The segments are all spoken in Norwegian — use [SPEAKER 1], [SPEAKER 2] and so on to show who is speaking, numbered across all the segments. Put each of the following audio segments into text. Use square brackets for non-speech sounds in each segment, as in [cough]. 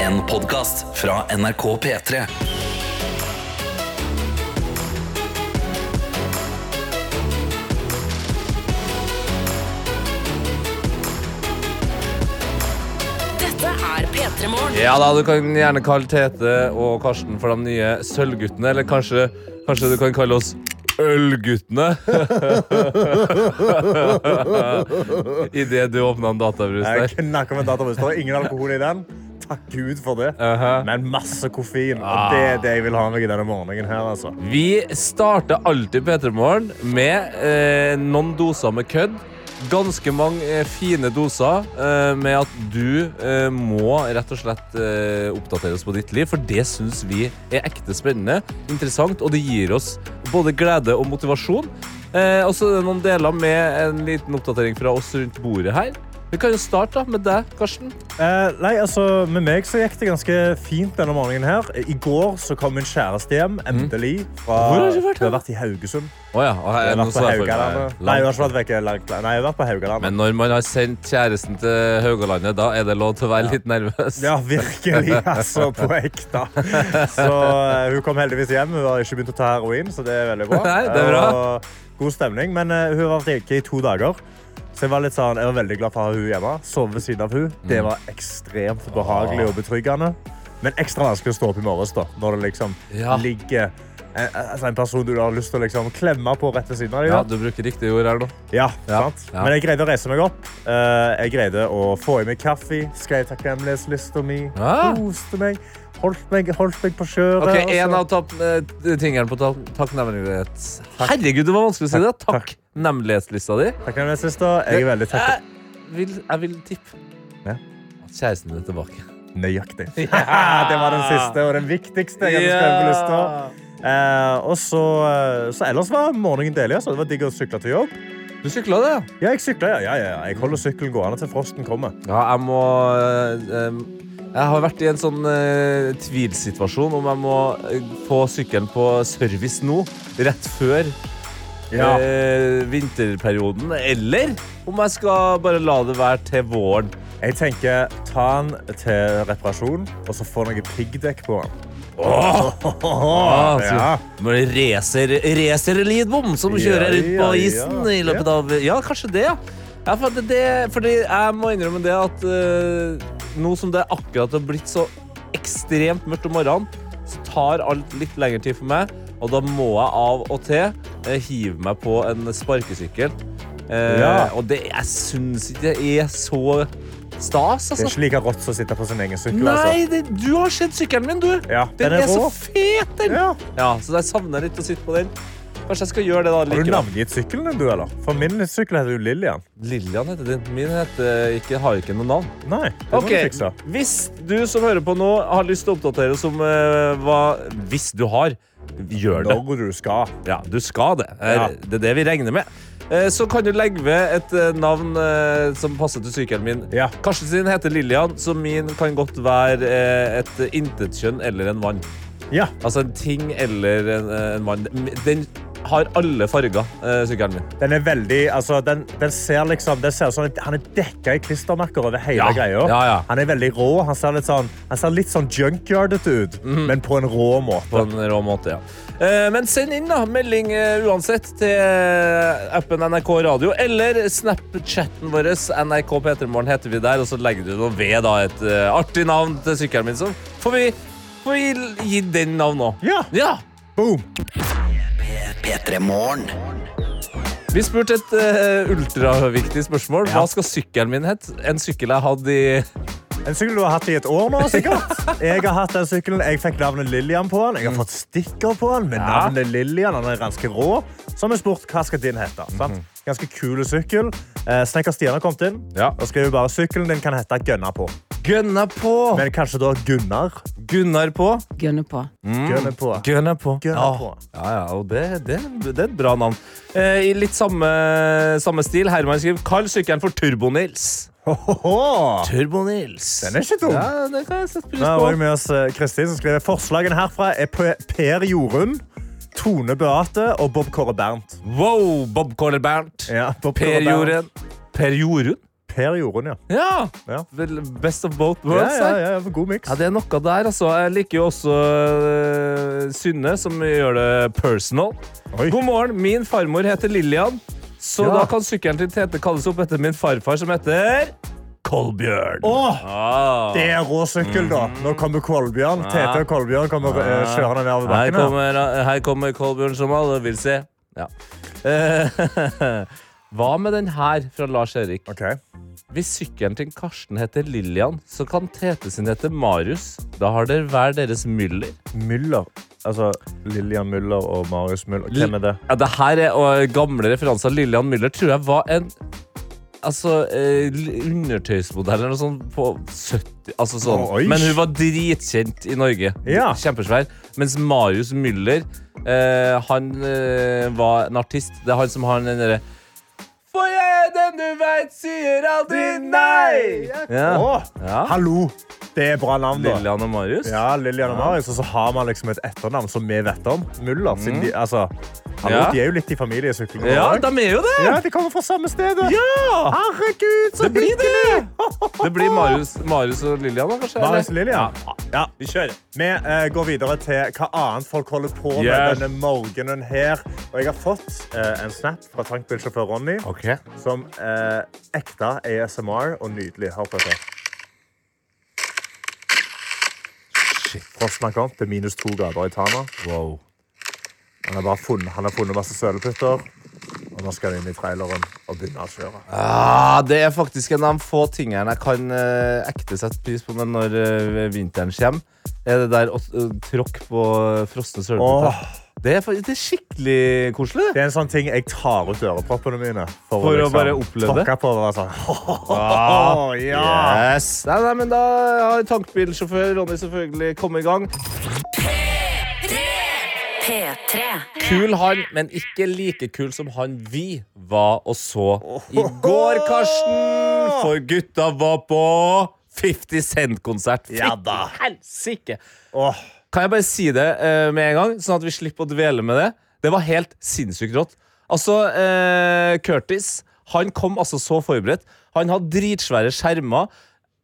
[SPEAKER 1] En podcast fra NRK P3
[SPEAKER 2] Dette er P3 Morgen.
[SPEAKER 3] Ja da, du kan gjerne kalle Tete og Karsten for de nye Sølvguttene. Eller kanskje, kanskje du kan kalle oss Ølguttene. [laughs] Idet du åpna en databrus
[SPEAKER 4] Jeg
[SPEAKER 3] der.
[SPEAKER 4] knakka med databrus. Det var ingen alkohol i den. Takk Gud for det.
[SPEAKER 3] Uh-huh.
[SPEAKER 4] Men masse koffein.
[SPEAKER 3] Ah.
[SPEAKER 4] Og det er det jeg vil ha meg i denne morgenen her, altså.
[SPEAKER 3] Vi starter alltid P3 Morgen med eh, noen doser med kødd. Ganske mange eh, fine doser eh, med at du eh, må rett og slett eh, oppdatere oss på ditt liv, for det syns vi er ekte spennende, interessant, og det gir oss både glede og motivasjon. Eh, og så er det noen deler med en liten oppdatering fra oss rundt bordet her. Vi kan jo starte da med deg, Karsten.
[SPEAKER 4] Eh, nei, altså, Med meg så gikk det ganske fint denne morgenen. her. I går så kom min kjæreste hjem. Endelig. Fra,
[SPEAKER 3] Mhm. Hvor har du vært
[SPEAKER 4] Hun
[SPEAKER 3] hen?
[SPEAKER 4] har vært i Haugesund.
[SPEAKER 3] Å ja. og her
[SPEAKER 4] Hun
[SPEAKER 3] er
[SPEAKER 4] har
[SPEAKER 3] noe
[SPEAKER 4] vært på
[SPEAKER 3] som er for-
[SPEAKER 4] Haugalandet. Nei, hun har ikke vært vekk langt. Nei, hun har vært på Haugalandet.
[SPEAKER 3] Men når man har sendt kjæresten til Haugalandet, da er det lov til å være litt nervøs.
[SPEAKER 4] Ja,
[SPEAKER 3] [laughs]
[SPEAKER 4] virkelig. Altså, på ekte. Så eh, hun kom heldigvis hjem. Hun har ikke begynt å ta heroin, så det er veldig bra.
[SPEAKER 3] Nei, det er bra.
[SPEAKER 4] Og god stemning, men eh, hun har vært ikke i to dager. Så jeg var, litt sånn, jeg var veldig glad for å ha hun hjemme. Sove ved siden av hun. Det
[SPEAKER 3] Mm.
[SPEAKER 4] var ekstremt behagelig og betryggende. Men ekstra vanskelig å stå opp i morges da, når det liksom
[SPEAKER 3] Ja.
[SPEAKER 4] ligger en, altså en person du har lyst til å liksom klemme på rett ved siden av deg.
[SPEAKER 3] Ja,
[SPEAKER 4] da.
[SPEAKER 3] du bruker riktige ord her nå.
[SPEAKER 4] Ja,
[SPEAKER 3] Ja,
[SPEAKER 4] sant?
[SPEAKER 3] ja.
[SPEAKER 4] Men jeg greide å reise meg opp. Eh, jeg greide å få i meg kaffe, skrev takknemlighetslista mi,
[SPEAKER 3] Ja.
[SPEAKER 4] koste meg, holdt meg, holdt meg på kjøret.
[SPEAKER 3] Ok,
[SPEAKER 4] og så-
[SPEAKER 3] En av topp, eh, tingene på ta- takknemlighets... Herregud, det var vanskelig å si det!
[SPEAKER 4] Takk.
[SPEAKER 3] Takknemlighetslista di.
[SPEAKER 4] Takknemlighetslista. Jeg er veldig takknemlig.
[SPEAKER 3] Jeg vil, jeg vil tippe
[SPEAKER 4] Ja.
[SPEAKER 3] at kjæresten din er tilbake.
[SPEAKER 4] Nøyaktig. [laughs] det var den siste og den viktigste. jeg hadde skrevet på lista. Eh, og så, eh, så ellers var morgenen deilig. Altså. Det var digg å sykle til jobb.
[SPEAKER 3] Du sykla, det?
[SPEAKER 4] Ja, jeg sykler, ja, ja, ja. Jeg holder sykkelen gående til frosten kommer.
[SPEAKER 3] Ja, jeg må eh, em, Jeg har vært i en sånn eh, tvilsituasjon om jeg må eh, få sykkelen på service nå, rett før
[SPEAKER 4] Ja.
[SPEAKER 3] eh, vinterperioden, eller om jeg skal bare la det være til våren.
[SPEAKER 4] Jeg tenker, ta den til reparasjon, og så få noe piggdekk på den. [laughs]
[SPEAKER 3] Ah, så-
[SPEAKER 4] ja.
[SPEAKER 3] Med Racer, racer Lidbom som
[SPEAKER 4] Ja,
[SPEAKER 3] kjører ut på
[SPEAKER 4] ja, ja.
[SPEAKER 3] isen i løpet av Ja, kanskje det, ja. ja for det, det, fordi jeg må innrømme det at eh, nå som det akkurat har blitt så ekstremt mørkt om morgenen, så tar alt litt lengre tid for meg, og da må jeg av og til eh, hive meg på en sparkesykkel. Eh,
[SPEAKER 4] Ja.
[SPEAKER 3] Og det, jeg syns ikke det er så stas,
[SPEAKER 4] Det er
[SPEAKER 3] altså.
[SPEAKER 4] ikke like rått som å sitte på sin egen sykkel. altså.
[SPEAKER 3] Nei, det, du har sett sykkelen min, du.
[SPEAKER 4] Ja,
[SPEAKER 3] Den,
[SPEAKER 4] den er
[SPEAKER 3] er, så
[SPEAKER 4] rå.
[SPEAKER 3] fet, den!
[SPEAKER 4] Ja.
[SPEAKER 3] Ja, så jeg savner litt å sitte på den. Kanskje jeg skal gjøre det da
[SPEAKER 4] Har du
[SPEAKER 3] likevel.
[SPEAKER 4] navngitt sykkelen din, du, eller? For min sykkel heter jo Lillian.
[SPEAKER 3] Lillian heter din. Min heter ikke, har ikke noe navn.
[SPEAKER 4] Nei, det må
[SPEAKER 3] Ok,
[SPEAKER 4] du fikse.
[SPEAKER 3] Hvis du som hører på nå, har lyst til å oppdatere oss om eh, hva Hvis du har, gjør det.
[SPEAKER 4] Når du skal.
[SPEAKER 3] Ja, du skal det. Er,
[SPEAKER 4] Ja.
[SPEAKER 3] Det er det vi regner med. Eh, Så kan du legge ved et eh, navn eh, som passer til sykkelen min.
[SPEAKER 4] Ja.
[SPEAKER 3] Karsten sin heter Lillian, så min kan godt være eh, et intetkjønn eller en mann.
[SPEAKER 4] Ja.
[SPEAKER 3] Altså en ting eller en, eh, en mann. Den har alle farger, eh, sykkelen min.
[SPEAKER 4] Den er veldig altså, den, den ser liksom den ser ut som- Han er dekka i klistermerker over hele
[SPEAKER 3] Ja.
[SPEAKER 4] greia.
[SPEAKER 3] Ja, ja.
[SPEAKER 4] Han er veldig rå. Han ser litt sånn, han ser litt sånn junkyardete ut,
[SPEAKER 3] Mhm.
[SPEAKER 4] men på en rå måte.
[SPEAKER 3] På en rå måte, ja. Eh, Men send inn da, melding eh, uansett til appen NRK Radio eller Snapchatten vår. NRK P3morgen heter vi der, og så legger du noe ved da, et eh, artig navn til sykkelen min. Så får vi, får vi gi den navn nå.
[SPEAKER 4] Ja.
[SPEAKER 3] ja.
[SPEAKER 4] Boom!
[SPEAKER 1] P3 Morgen
[SPEAKER 3] Vi spurte et eh, ultraviktig spørsmål. Hva skal sykkelen min hete? En sykkel jeg hadde i
[SPEAKER 4] En sykkel du har hatt i et år nå, sikkert. Jeg har hatt den sykkelen, jeg fikk navnet Lillian på den. Jeg har fått stikker på den med
[SPEAKER 3] Mm. Ja.
[SPEAKER 4] navnet Lillian. Den er ganske rå. Så har vi spurt hva skal din hete. Sant?
[SPEAKER 3] Mhm.
[SPEAKER 4] Ganske kul sykkel. Eh, Snekker Stian har kommet inn.
[SPEAKER 3] Ja.
[SPEAKER 4] Da skriver bare sykkelen din kan hete Gønna på.
[SPEAKER 3] Gønna på!
[SPEAKER 4] Men kanskje da Gunnar.
[SPEAKER 3] Gunnar på.
[SPEAKER 2] Gønne på.
[SPEAKER 4] Gønne på.
[SPEAKER 3] Gønna på.
[SPEAKER 4] Gønna
[SPEAKER 3] Mm. Ja.
[SPEAKER 4] på.
[SPEAKER 3] Ja, ja, og det, det, det er et bra navn. Eh, I litt samme, samme stil. Herman skriver Kall sykkelen for Turbo-Nils.
[SPEAKER 4] Hohoho!
[SPEAKER 3] Turbo-Nils.
[SPEAKER 4] Den er ikke dum.
[SPEAKER 3] Ja, det kan jeg sette pris
[SPEAKER 4] Nå har vi
[SPEAKER 3] på.
[SPEAKER 4] med oss eh, Kristin som skriver forslagene herfra er P- Per Jorunn, Tone Beate og Bob Kåre Bernt.
[SPEAKER 3] Wow, Bob Corner Bernt.
[SPEAKER 4] Ja, Bob
[SPEAKER 3] Per
[SPEAKER 4] Kåre Bernt.
[SPEAKER 3] Jorunn. Per Jorunn?
[SPEAKER 4] Per Jorunn, ja.
[SPEAKER 3] Ja!
[SPEAKER 4] Ja.
[SPEAKER 3] Vel, Best of both
[SPEAKER 4] Ja,
[SPEAKER 3] worlds.
[SPEAKER 4] ja,
[SPEAKER 3] her.
[SPEAKER 4] ja, ja, god miks.
[SPEAKER 3] Ja, det er noe der, altså. Jeg liker jo også eh, Synne, som gjør det personal.
[SPEAKER 4] Oi.
[SPEAKER 3] God morgen, min farmor heter Lillian, så
[SPEAKER 4] Ja.
[SPEAKER 3] da kan sykkelen til Tete kalles opp etter min farfar, som heter Kolbjørn.
[SPEAKER 4] Åh,
[SPEAKER 3] Ah.
[SPEAKER 4] det er rå sykkel, da. Mm. Nå kommer Kolbjørn. Tete og Kolbjørn kommer eh, kjørende nedover
[SPEAKER 3] Her
[SPEAKER 4] bakken. her.
[SPEAKER 3] kommer, her kommer Kolbjørn, som alle vil se. Ja. Eh, [laughs] Hva med den her fra Lars Erik?
[SPEAKER 4] Ok.
[SPEAKER 3] Hvis sykkelen til Karsten heter Lillian, så kan Tete sin hete Marius. Da har dere hver deres Müller.
[SPEAKER 4] Müller. Altså Lillian Müller og Marius Müller. Hvem er det?
[SPEAKER 3] Ja, det her er og gamle referanser. Lillian Müller tror jeg var en altså, eh, l- undertøysmodell eller noe sånt på 70 altså sånn.
[SPEAKER 4] Oi.
[SPEAKER 3] Men hun var dritkjent i Norge.
[SPEAKER 4] Ja.
[SPEAKER 3] Kjempesvær. Mens Marius Müller, eh, han eh, var en artist. Det er han som har den derre For jeg er den du veit sier aldri nei! Ja.
[SPEAKER 4] Åh,
[SPEAKER 3] Ja.
[SPEAKER 4] Hallo! Det er bra navn, da.
[SPEAKER 3] Lillian og Marius.
[SPEAKER 4] Ja, Lillian og Marius, og så har man liksom et etternavn som vi vet om. Müller. Siden de, altså,
[SPEAKER 3] Mm.
[SPEAKER 4] hallo,
[SPEAKER 3] Ja.
[SPEAKER 4] de er jo litt i familiesyklene.
[SPEAKER 3] Ja, de er jo det!
[SPEAKER 4] ja, de kommer fra samme sted. da.
[SPEAKER 3] Ja!
[SPEAKER 4] Herregud, så
[SPEAKER 3] Det blir det!
[SPEAKER 4] hyggelig!
[SPEAKER 3] Det blir Marius, Marius og Lillian, da, kanskje?
[SPEAKER 4] Marius og
[SPEAKER 3] eller?
[SPEAKER 4] Lillian. Ja.
[SPEAKER 3] Vi kjører.
[SPEAKER 4] Vi eh, går videre til hva annet folk holder på med
[SPEAKER 3] Yes.
[SPEAKER 4] denne morgenen her. Og jeg har fått eh, en snap fra tankbilsjåfør Ronny. som eh, ekte ASMR og nydelig. Hør på dette. Frosten har kommet til minus to grader i Tana. Han har bare funnet, han har funnet masse søleputter. Og nå skal han inn i traileren og begynne å kjøre.
[SPEAKER 3] Ah, det er faktisk en av de få tingene jeg kan eh, ekte sette pris på men når eh, vinteren kommer. Er det der å eh, tråkke på frosne sølvbiter.
[SPEAKER 4] Åh.
[SPEAKER 3] Det, er fa- det er skikkelig koselig. det.
[SPEAKER 4] Det er en sånn ting jeg tar ut øreproppene mine. liksom
[SPEAKER 3] For å bare oppleve det? Oh,
[SPEAKER 4] tråkke På altså. det, og være
[SPEAKER 3] [laughs]
[SPEAKER 4] sånn. ja.
[SPEAKER 3] Yes. Nei, nei, men da har tankbilsjåfør Ronny selvfølgelig kommet i gang.
[SPEAKER 2] P3.
[SPEAKER 3] Kul han, men ikke like kul som han vi var og så i går, Karsten. For gutta var på 50 Cent-konsert.
[SPEAKER 4] Ja da.
[SPEAKER 3] Fytti Helsike!
[SPEAKER 4] Åh,
[SPEAKER 3] Kan jeg bare si det eh, med en gang, sånn at vi slipper å dvele med det? Det var helt sinnssykt rått. Altså, eh, Curtis han kom altså så forberedt. Han har dritsvære skjermer.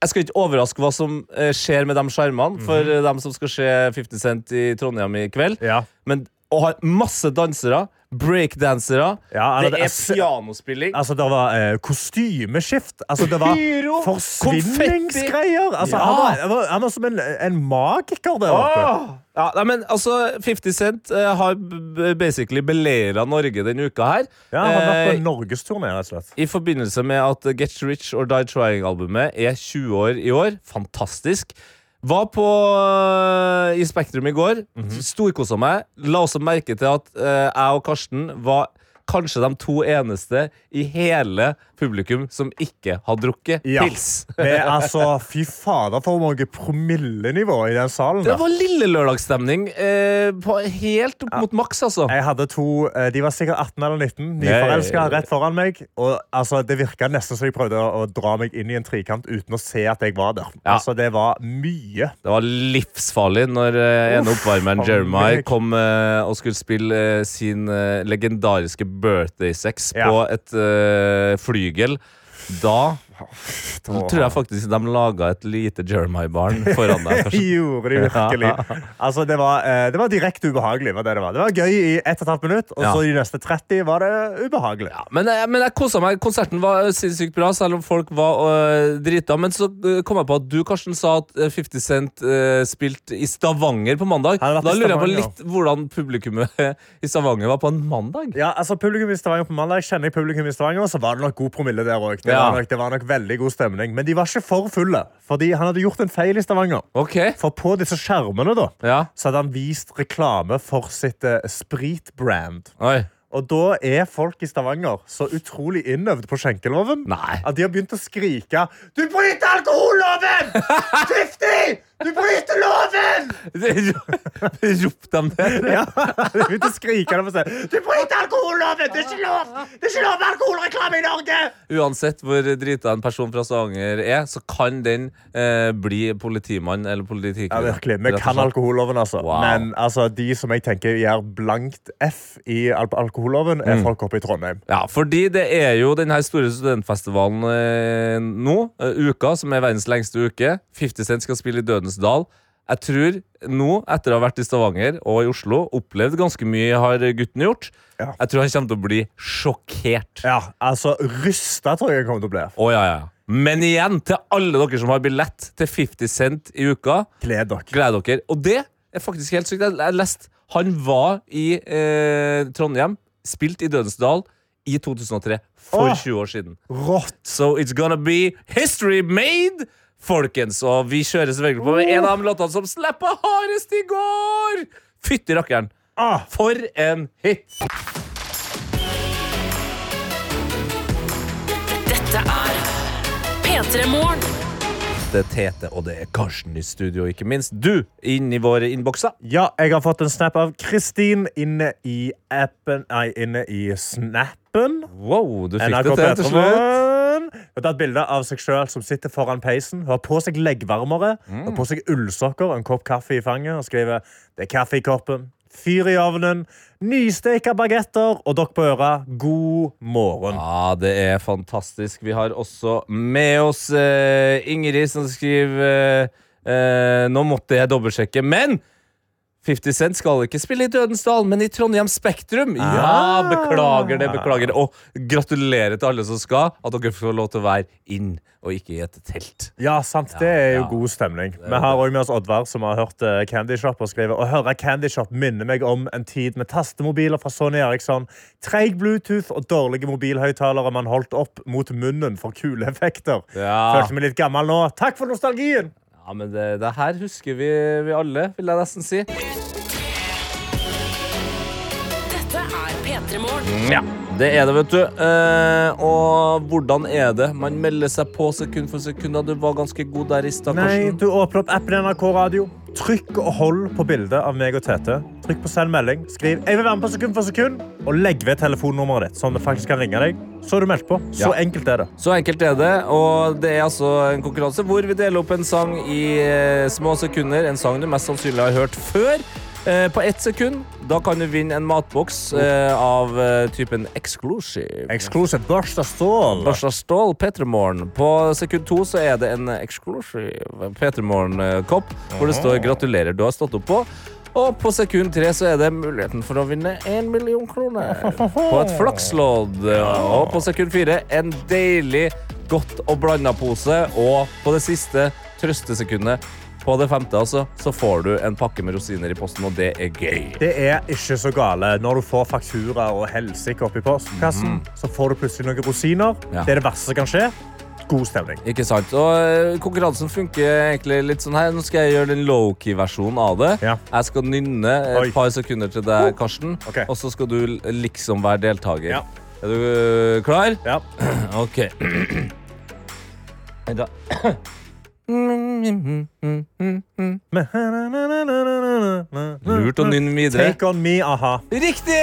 [SPEAKER 3] Jeg skal ikke overraske hva som eh, skjer med de skjermene,
[SPEAKER 4] Mhm.
[SPEAKER 3] for eh, dem som skal se 50 Cent i Trondheim i kveld.
[SPEAKER 4] Ja.
[SPEAKER 3] Men å ha masse dansere, breakdansere
[SPEAKER 4] Ja, eller
[SPEAKER 3] Det
[SPEAKER 4] det-
[SPEAKER 3] er pianospilling.
[SPEAKER 4] Altså, det var eh, kostymeskift. Altså, det var
[SPEAKER 3] Pyro,
[SPEAKER 4] forsvinningsgreier. Altså,
[SPEAKER 3] Ja.
[SPEAKER 4] han, var, han, var, han var som en, en magiker der oppe.
[SPEAKER 3] Åh! Ja, nei, men altså, 50 Cent eh, har b- b- basically beleira Norge denne uka her.
[SPEAKER 4] Ja, han har vært på
[SPEAKER 3] Eh,
[SPEAKER 4] en norgesturné, rett og slett.
[SPEAKER 3] I forbindelse med at Get Rich or Die Trying-albumet er 20 år i år. Fantastisk. Var på eh, i Spektrum i går. Storkosa meg. La også merke til at eh, jeg og Karsten var kanskje de to eneste i hele publikum som ikke har drukket
[SPEAKER 4] Ja.
[SPEAKER 3] pils.
[SPEAKER 4] Men altså, fy fader, for mange promillenivå i den salen.
[SPEAKER 3] Det
[SPEAKER 4] Der.
[SPEAKER 3] var lille lørdagsstemning. Eh, på, helt opp mot maks, altså.
[SPEAKER 4] Jeg hadde to, eh, De var sikkert 18 eller 19,
[SPEAKER 3] Nei.
[SPEAKER 4] nyforelska rett foran meg. Og altså, Det virka nesten som jeg prøvde å å dra meg inn i en trikant uten å se at jeg var der.
[SPEAKER 3] Ja.
[SPEAKER 4] Altså, Det var mye.
[SPEAKER 3] Det var livsfarlig når eh, ene
[SPEAKER 4] Uff,
[SPEAKER 3] oppvarmeren
[SPEAKER 4] faen
[SPEAKER 3] Jeremiah
[SPEAKER 4] meg.
[SPEAKER 3] kom eh, og skulle spille eh, sin eh, legendariske birthday sex
[SPEAKER 4] Ja.
[SPEAKER 3] på et eh, flygel. Da tror jeg faktisk de laga et lite Jeremiah-barn foran deg.
[SPEAKER 4] Det [laughs]
[SPEAKER 3] Karsten.
[SPEAKER 4] gjorde de virkelig. Altså, det var, eh, det var direkte ubehagelig. Var det, det, var. det var gøy i 1 12 minutt, og
[SPEAKER 3] Ja.
[SPEAKER 4] så de neste 30 var det ubehagelig.
[SPEAKER 3] Men, jeg- men jeg kosa meg. Konserten var eh, sinnssykt bra, selv om folk var eh, drita. Men så eh, kom jeg på at du Karsten, sa at eh, 50 Cent eh, spilte i Stavanger på mandag.
[SPEAKER 4] Han har vært
[SPEAKER 3] Da
[SPEAKER 4] i
[SPEAKER 3] lurer jeg på
[SPEAKER 4] Stavanger,
[SPEAKER 3] litt hvordan publikummet [laughs] i Stavanger var på en mandag.
[SPEAKER 4] Ja, altså Publikum i Stavanger på mandag kjenner jeg publikum i Stavanger, så var det nok god promille der òg. Det,
[SPEAKER 3] Ja.
[SPEAKER 4] var nok- det var nok veldig god stemning. Men de var ikke for fulle, fordi han hadde gjort en feil i Stavanger.
[SPEAKER 3] Ok,
[SPEAKER 4] For på disse skjermene da,
[SPEAKER 3] ja
[SPEAKER 4] så hadde han vist reklame for sitt eh, spritbrand.
[SPEAKER 3] Oi.
[SPEAKER 4] Og da er folk i Stavanger så utrolig innøvd på skjenkeloven
[SPEAKER 3] Nei.
[SPEAKER 4] at de har begynt
[SPEAKER 3] [laughs]
[SPEAKER 4] å skrike Du bryter alkoholloven! Fifty! Du bryter loven!
[SPEAKER 3] Ropte de det?
[SPEAKER 4] Ja, de begynte å skrike. De sa, du bryter alkoholloven! Det er ikke lov Det er ikke lov med alkoholreklame i Norge!
[SPEAKER 3] Uansett hvor drita en person fra Stavanger er, så kan den eh, bli politimann eller
[SPEAKER 4] Ja,
[SPEAKER 3] politikvinne.
[SPEAKER 4] virkelig. Vi
[SPEAKER 3] Rett og
[SPEAKER 4] kan
[SPEAKER 3] slett.
[SPEAKER 4] alkoholloven, altså.
[SPEAKER 3] Wow.
[SPEAKER 4] Men altså, de som jeg tenker gjør blankt F i al alkoholloven,
[SPEAKER 3] Mm.
[SPEAKER 4] er folk oppe i Trondheim.
[SPEAKER 3] Ja, fordi det er jo den her store studentfestivalen eh, nå, eh, uka, som er verdens lengste uke. 50 Cent skal spille i Dødens Dal. Jeg tror nå, etter å ha vært i Stavanger og i Oslo, opplevd ganske mye har gutten gjort.
[SPEAKER 4] Ja.
[SPEAKER 3] Jeg tror han kommer til å bli sjokkert.
[SPEAKER 4] Ja, altså, Rysta tror jeg jeg kommer til å bli.
[SPEAKER 3] Å, ja, ja. Men igjen, til alle dere som har billett til 50 Cent i uka,
[SPEAKER 4] Gled dere.
[SPEAKER 3] gleder dere. Og det er faktisk helt sykt. Jeg jeg leste han var i eh, Trondheim, spilt i Dødens Dal i 2003, for
[SPEAKER 4] Åh.
[SPEAKER 3] 20 år siden.
[SPEAKER 4] Rått.
[SPEAKER 3] So it's gonna be history made, folkens. Og vi kjører selvfølgelig på med en av de låtene som slippa hardest i går. Fytti rakkeren.
[SPEAKER 4] Ah,
[SPEAKER 3] For en hit.
[SPEAKER 2] Dette er P3 Morgen.
[SPEAKER 3] Det er Tete og det er Karsten i studio, ikke minst. Du inn i våre innbokser.
[SPEAKER 4] ja, jeg har fått en snap av Kristin inne i appen Nei, inne i snappen.
[SPEAKER 3] Wow, du fikk
[SPEAKER 4] NRK
[SPEAKER 3] det til til slutt.
[SPEAKER 4] Petremorgen. Hun har tatt bilde av seg selv som sitter foran peisen. Hun har på seg leggvarmere, har
[SPEAKER 3] Mm.
[SPEAKER 4] på seg ullsokker og en kopp kaffe i fanget og skriver det er kaffe i koppen, fyr i ovnen, nysteka bagetter og dere på øra, god morgen.
[SPEAKER 3] Ja, Ah, det er fantastisk. Vi har også med oss eh, Ingrid, som skriver eh, eh, Nå måtte jeg dobbeltsjekke, men 50 Cent skal ikke spille i Dødens Dal, men i Trondheim Spektrum. Ja,
[SPEAKER 4] Ah.
[SPEAKER 3] beklager det, beklager det. Og gratulerer til alle som skal, at dere får lov til å være inn og ikke i et telt.
[SPEAKER 4] Ja, sant, det er jo
[SPEAKER 3] ja.
[SPEAKER 4] god stemning. Vi har også med oss Oddvar, som har hørt eh, Candy Shop og skriver å høre Candy Shop minner meg om en tid med tastemobiler fra Sony Eriksson, treig Bluetooth og dårlige mobilhøyttalere man holdt opp mot munnen for kuleeffekter.
[SPEAKER 3] Ja,
[SPEAKER 4] Følte meg litt gammel nå. Takk for nostalgien!
[SPEAKER 3] ja men det, det her husker vi, vi alle, vil jeg nesten si.
[SPEAKER 2] Dette er P3 Morgen.
[SPEAKER 3] Ja, det er det, vet du. Eh, og hvordan er det? Man melder seg på sekund for sekund. da. Du var ganske god der i stad,
[SPEAKER 4] Nei,
[SPEAKER 3] Karsten.
[SPEAKER 4] du åpner opp appen NRK Radio. Trykk og hold på bildet av meg og Tete. Trykk på send melding. Skriv 'Jeg vil være med på sekund for sekund', og legg ved telefonnummeret ditt. Sånn at vi faktisk kan ringe deg. Så er du meldt på. Så
[SPEAKER 3] Ja.
[SPEAKER 4] enkelt er det.
[SPEAKER 3] Så enkelt er det. Og det er altså en konkurranse hvor vi deler opp en sang i eh, små sekunder. En sang du mest sannsynlig har hørt før. Eh, på ett sekund. Da kan du vinne en matboks eh, av eh, typen exclusive.
[SPEAKER 4] Exclusive Børsta Stål.
[SPEAKER 3] Barstad Stål, Petremorgen. På sekund to så er det en exclusive Petremorgen-kopp hvor det står 'Gratulerer, du har stått opp på'. Og på sekund tre så er det muligheten for å vinne én million kroner på et flakslodd. Og på sekund fire en deilig godt og blanda pose. Og på det siste trøstesekundet, på det femte altså, så får du en pakke med rosiner i posten, og det er gøy.
[SPEAKER 4] Det er ikke så gale når du får faktura og helsike opp i postkassen. Så får du plutselig noen rosiner.
[SPEAKER 3] Mhm. Ja.
[SPEAKER 4] Det er det verste som kan skje. God stemning.
[SPEAKER 3] Ikke sant? Og eh, konkurransen funker egentlig litt sånn her. Nå skal jeg gjøre den low-key-versjonen av det.
[SPEAKER 4] Ja.
[SPEAKER 3] Jeg skal nynne et
[SPEAKER 4] Oi.
[SPEAKER 3] par sekunder til deg, Karsten.
[SPEAKER 4] Ok.
[SPEAKER 3] Og så skal du l- liksom være deltaker.
[SPEAKER 4] Ja.
[SPEAKER 3] Er du eh, klar?
[SPEAKER 4] Ja.
[SPEAKER 3] OK. [clears throat] Da. [clears throat] Lurt å nynne videre.
[SPEAKER 4] Take on me, aha.
[SPEAKER 3] Riktig!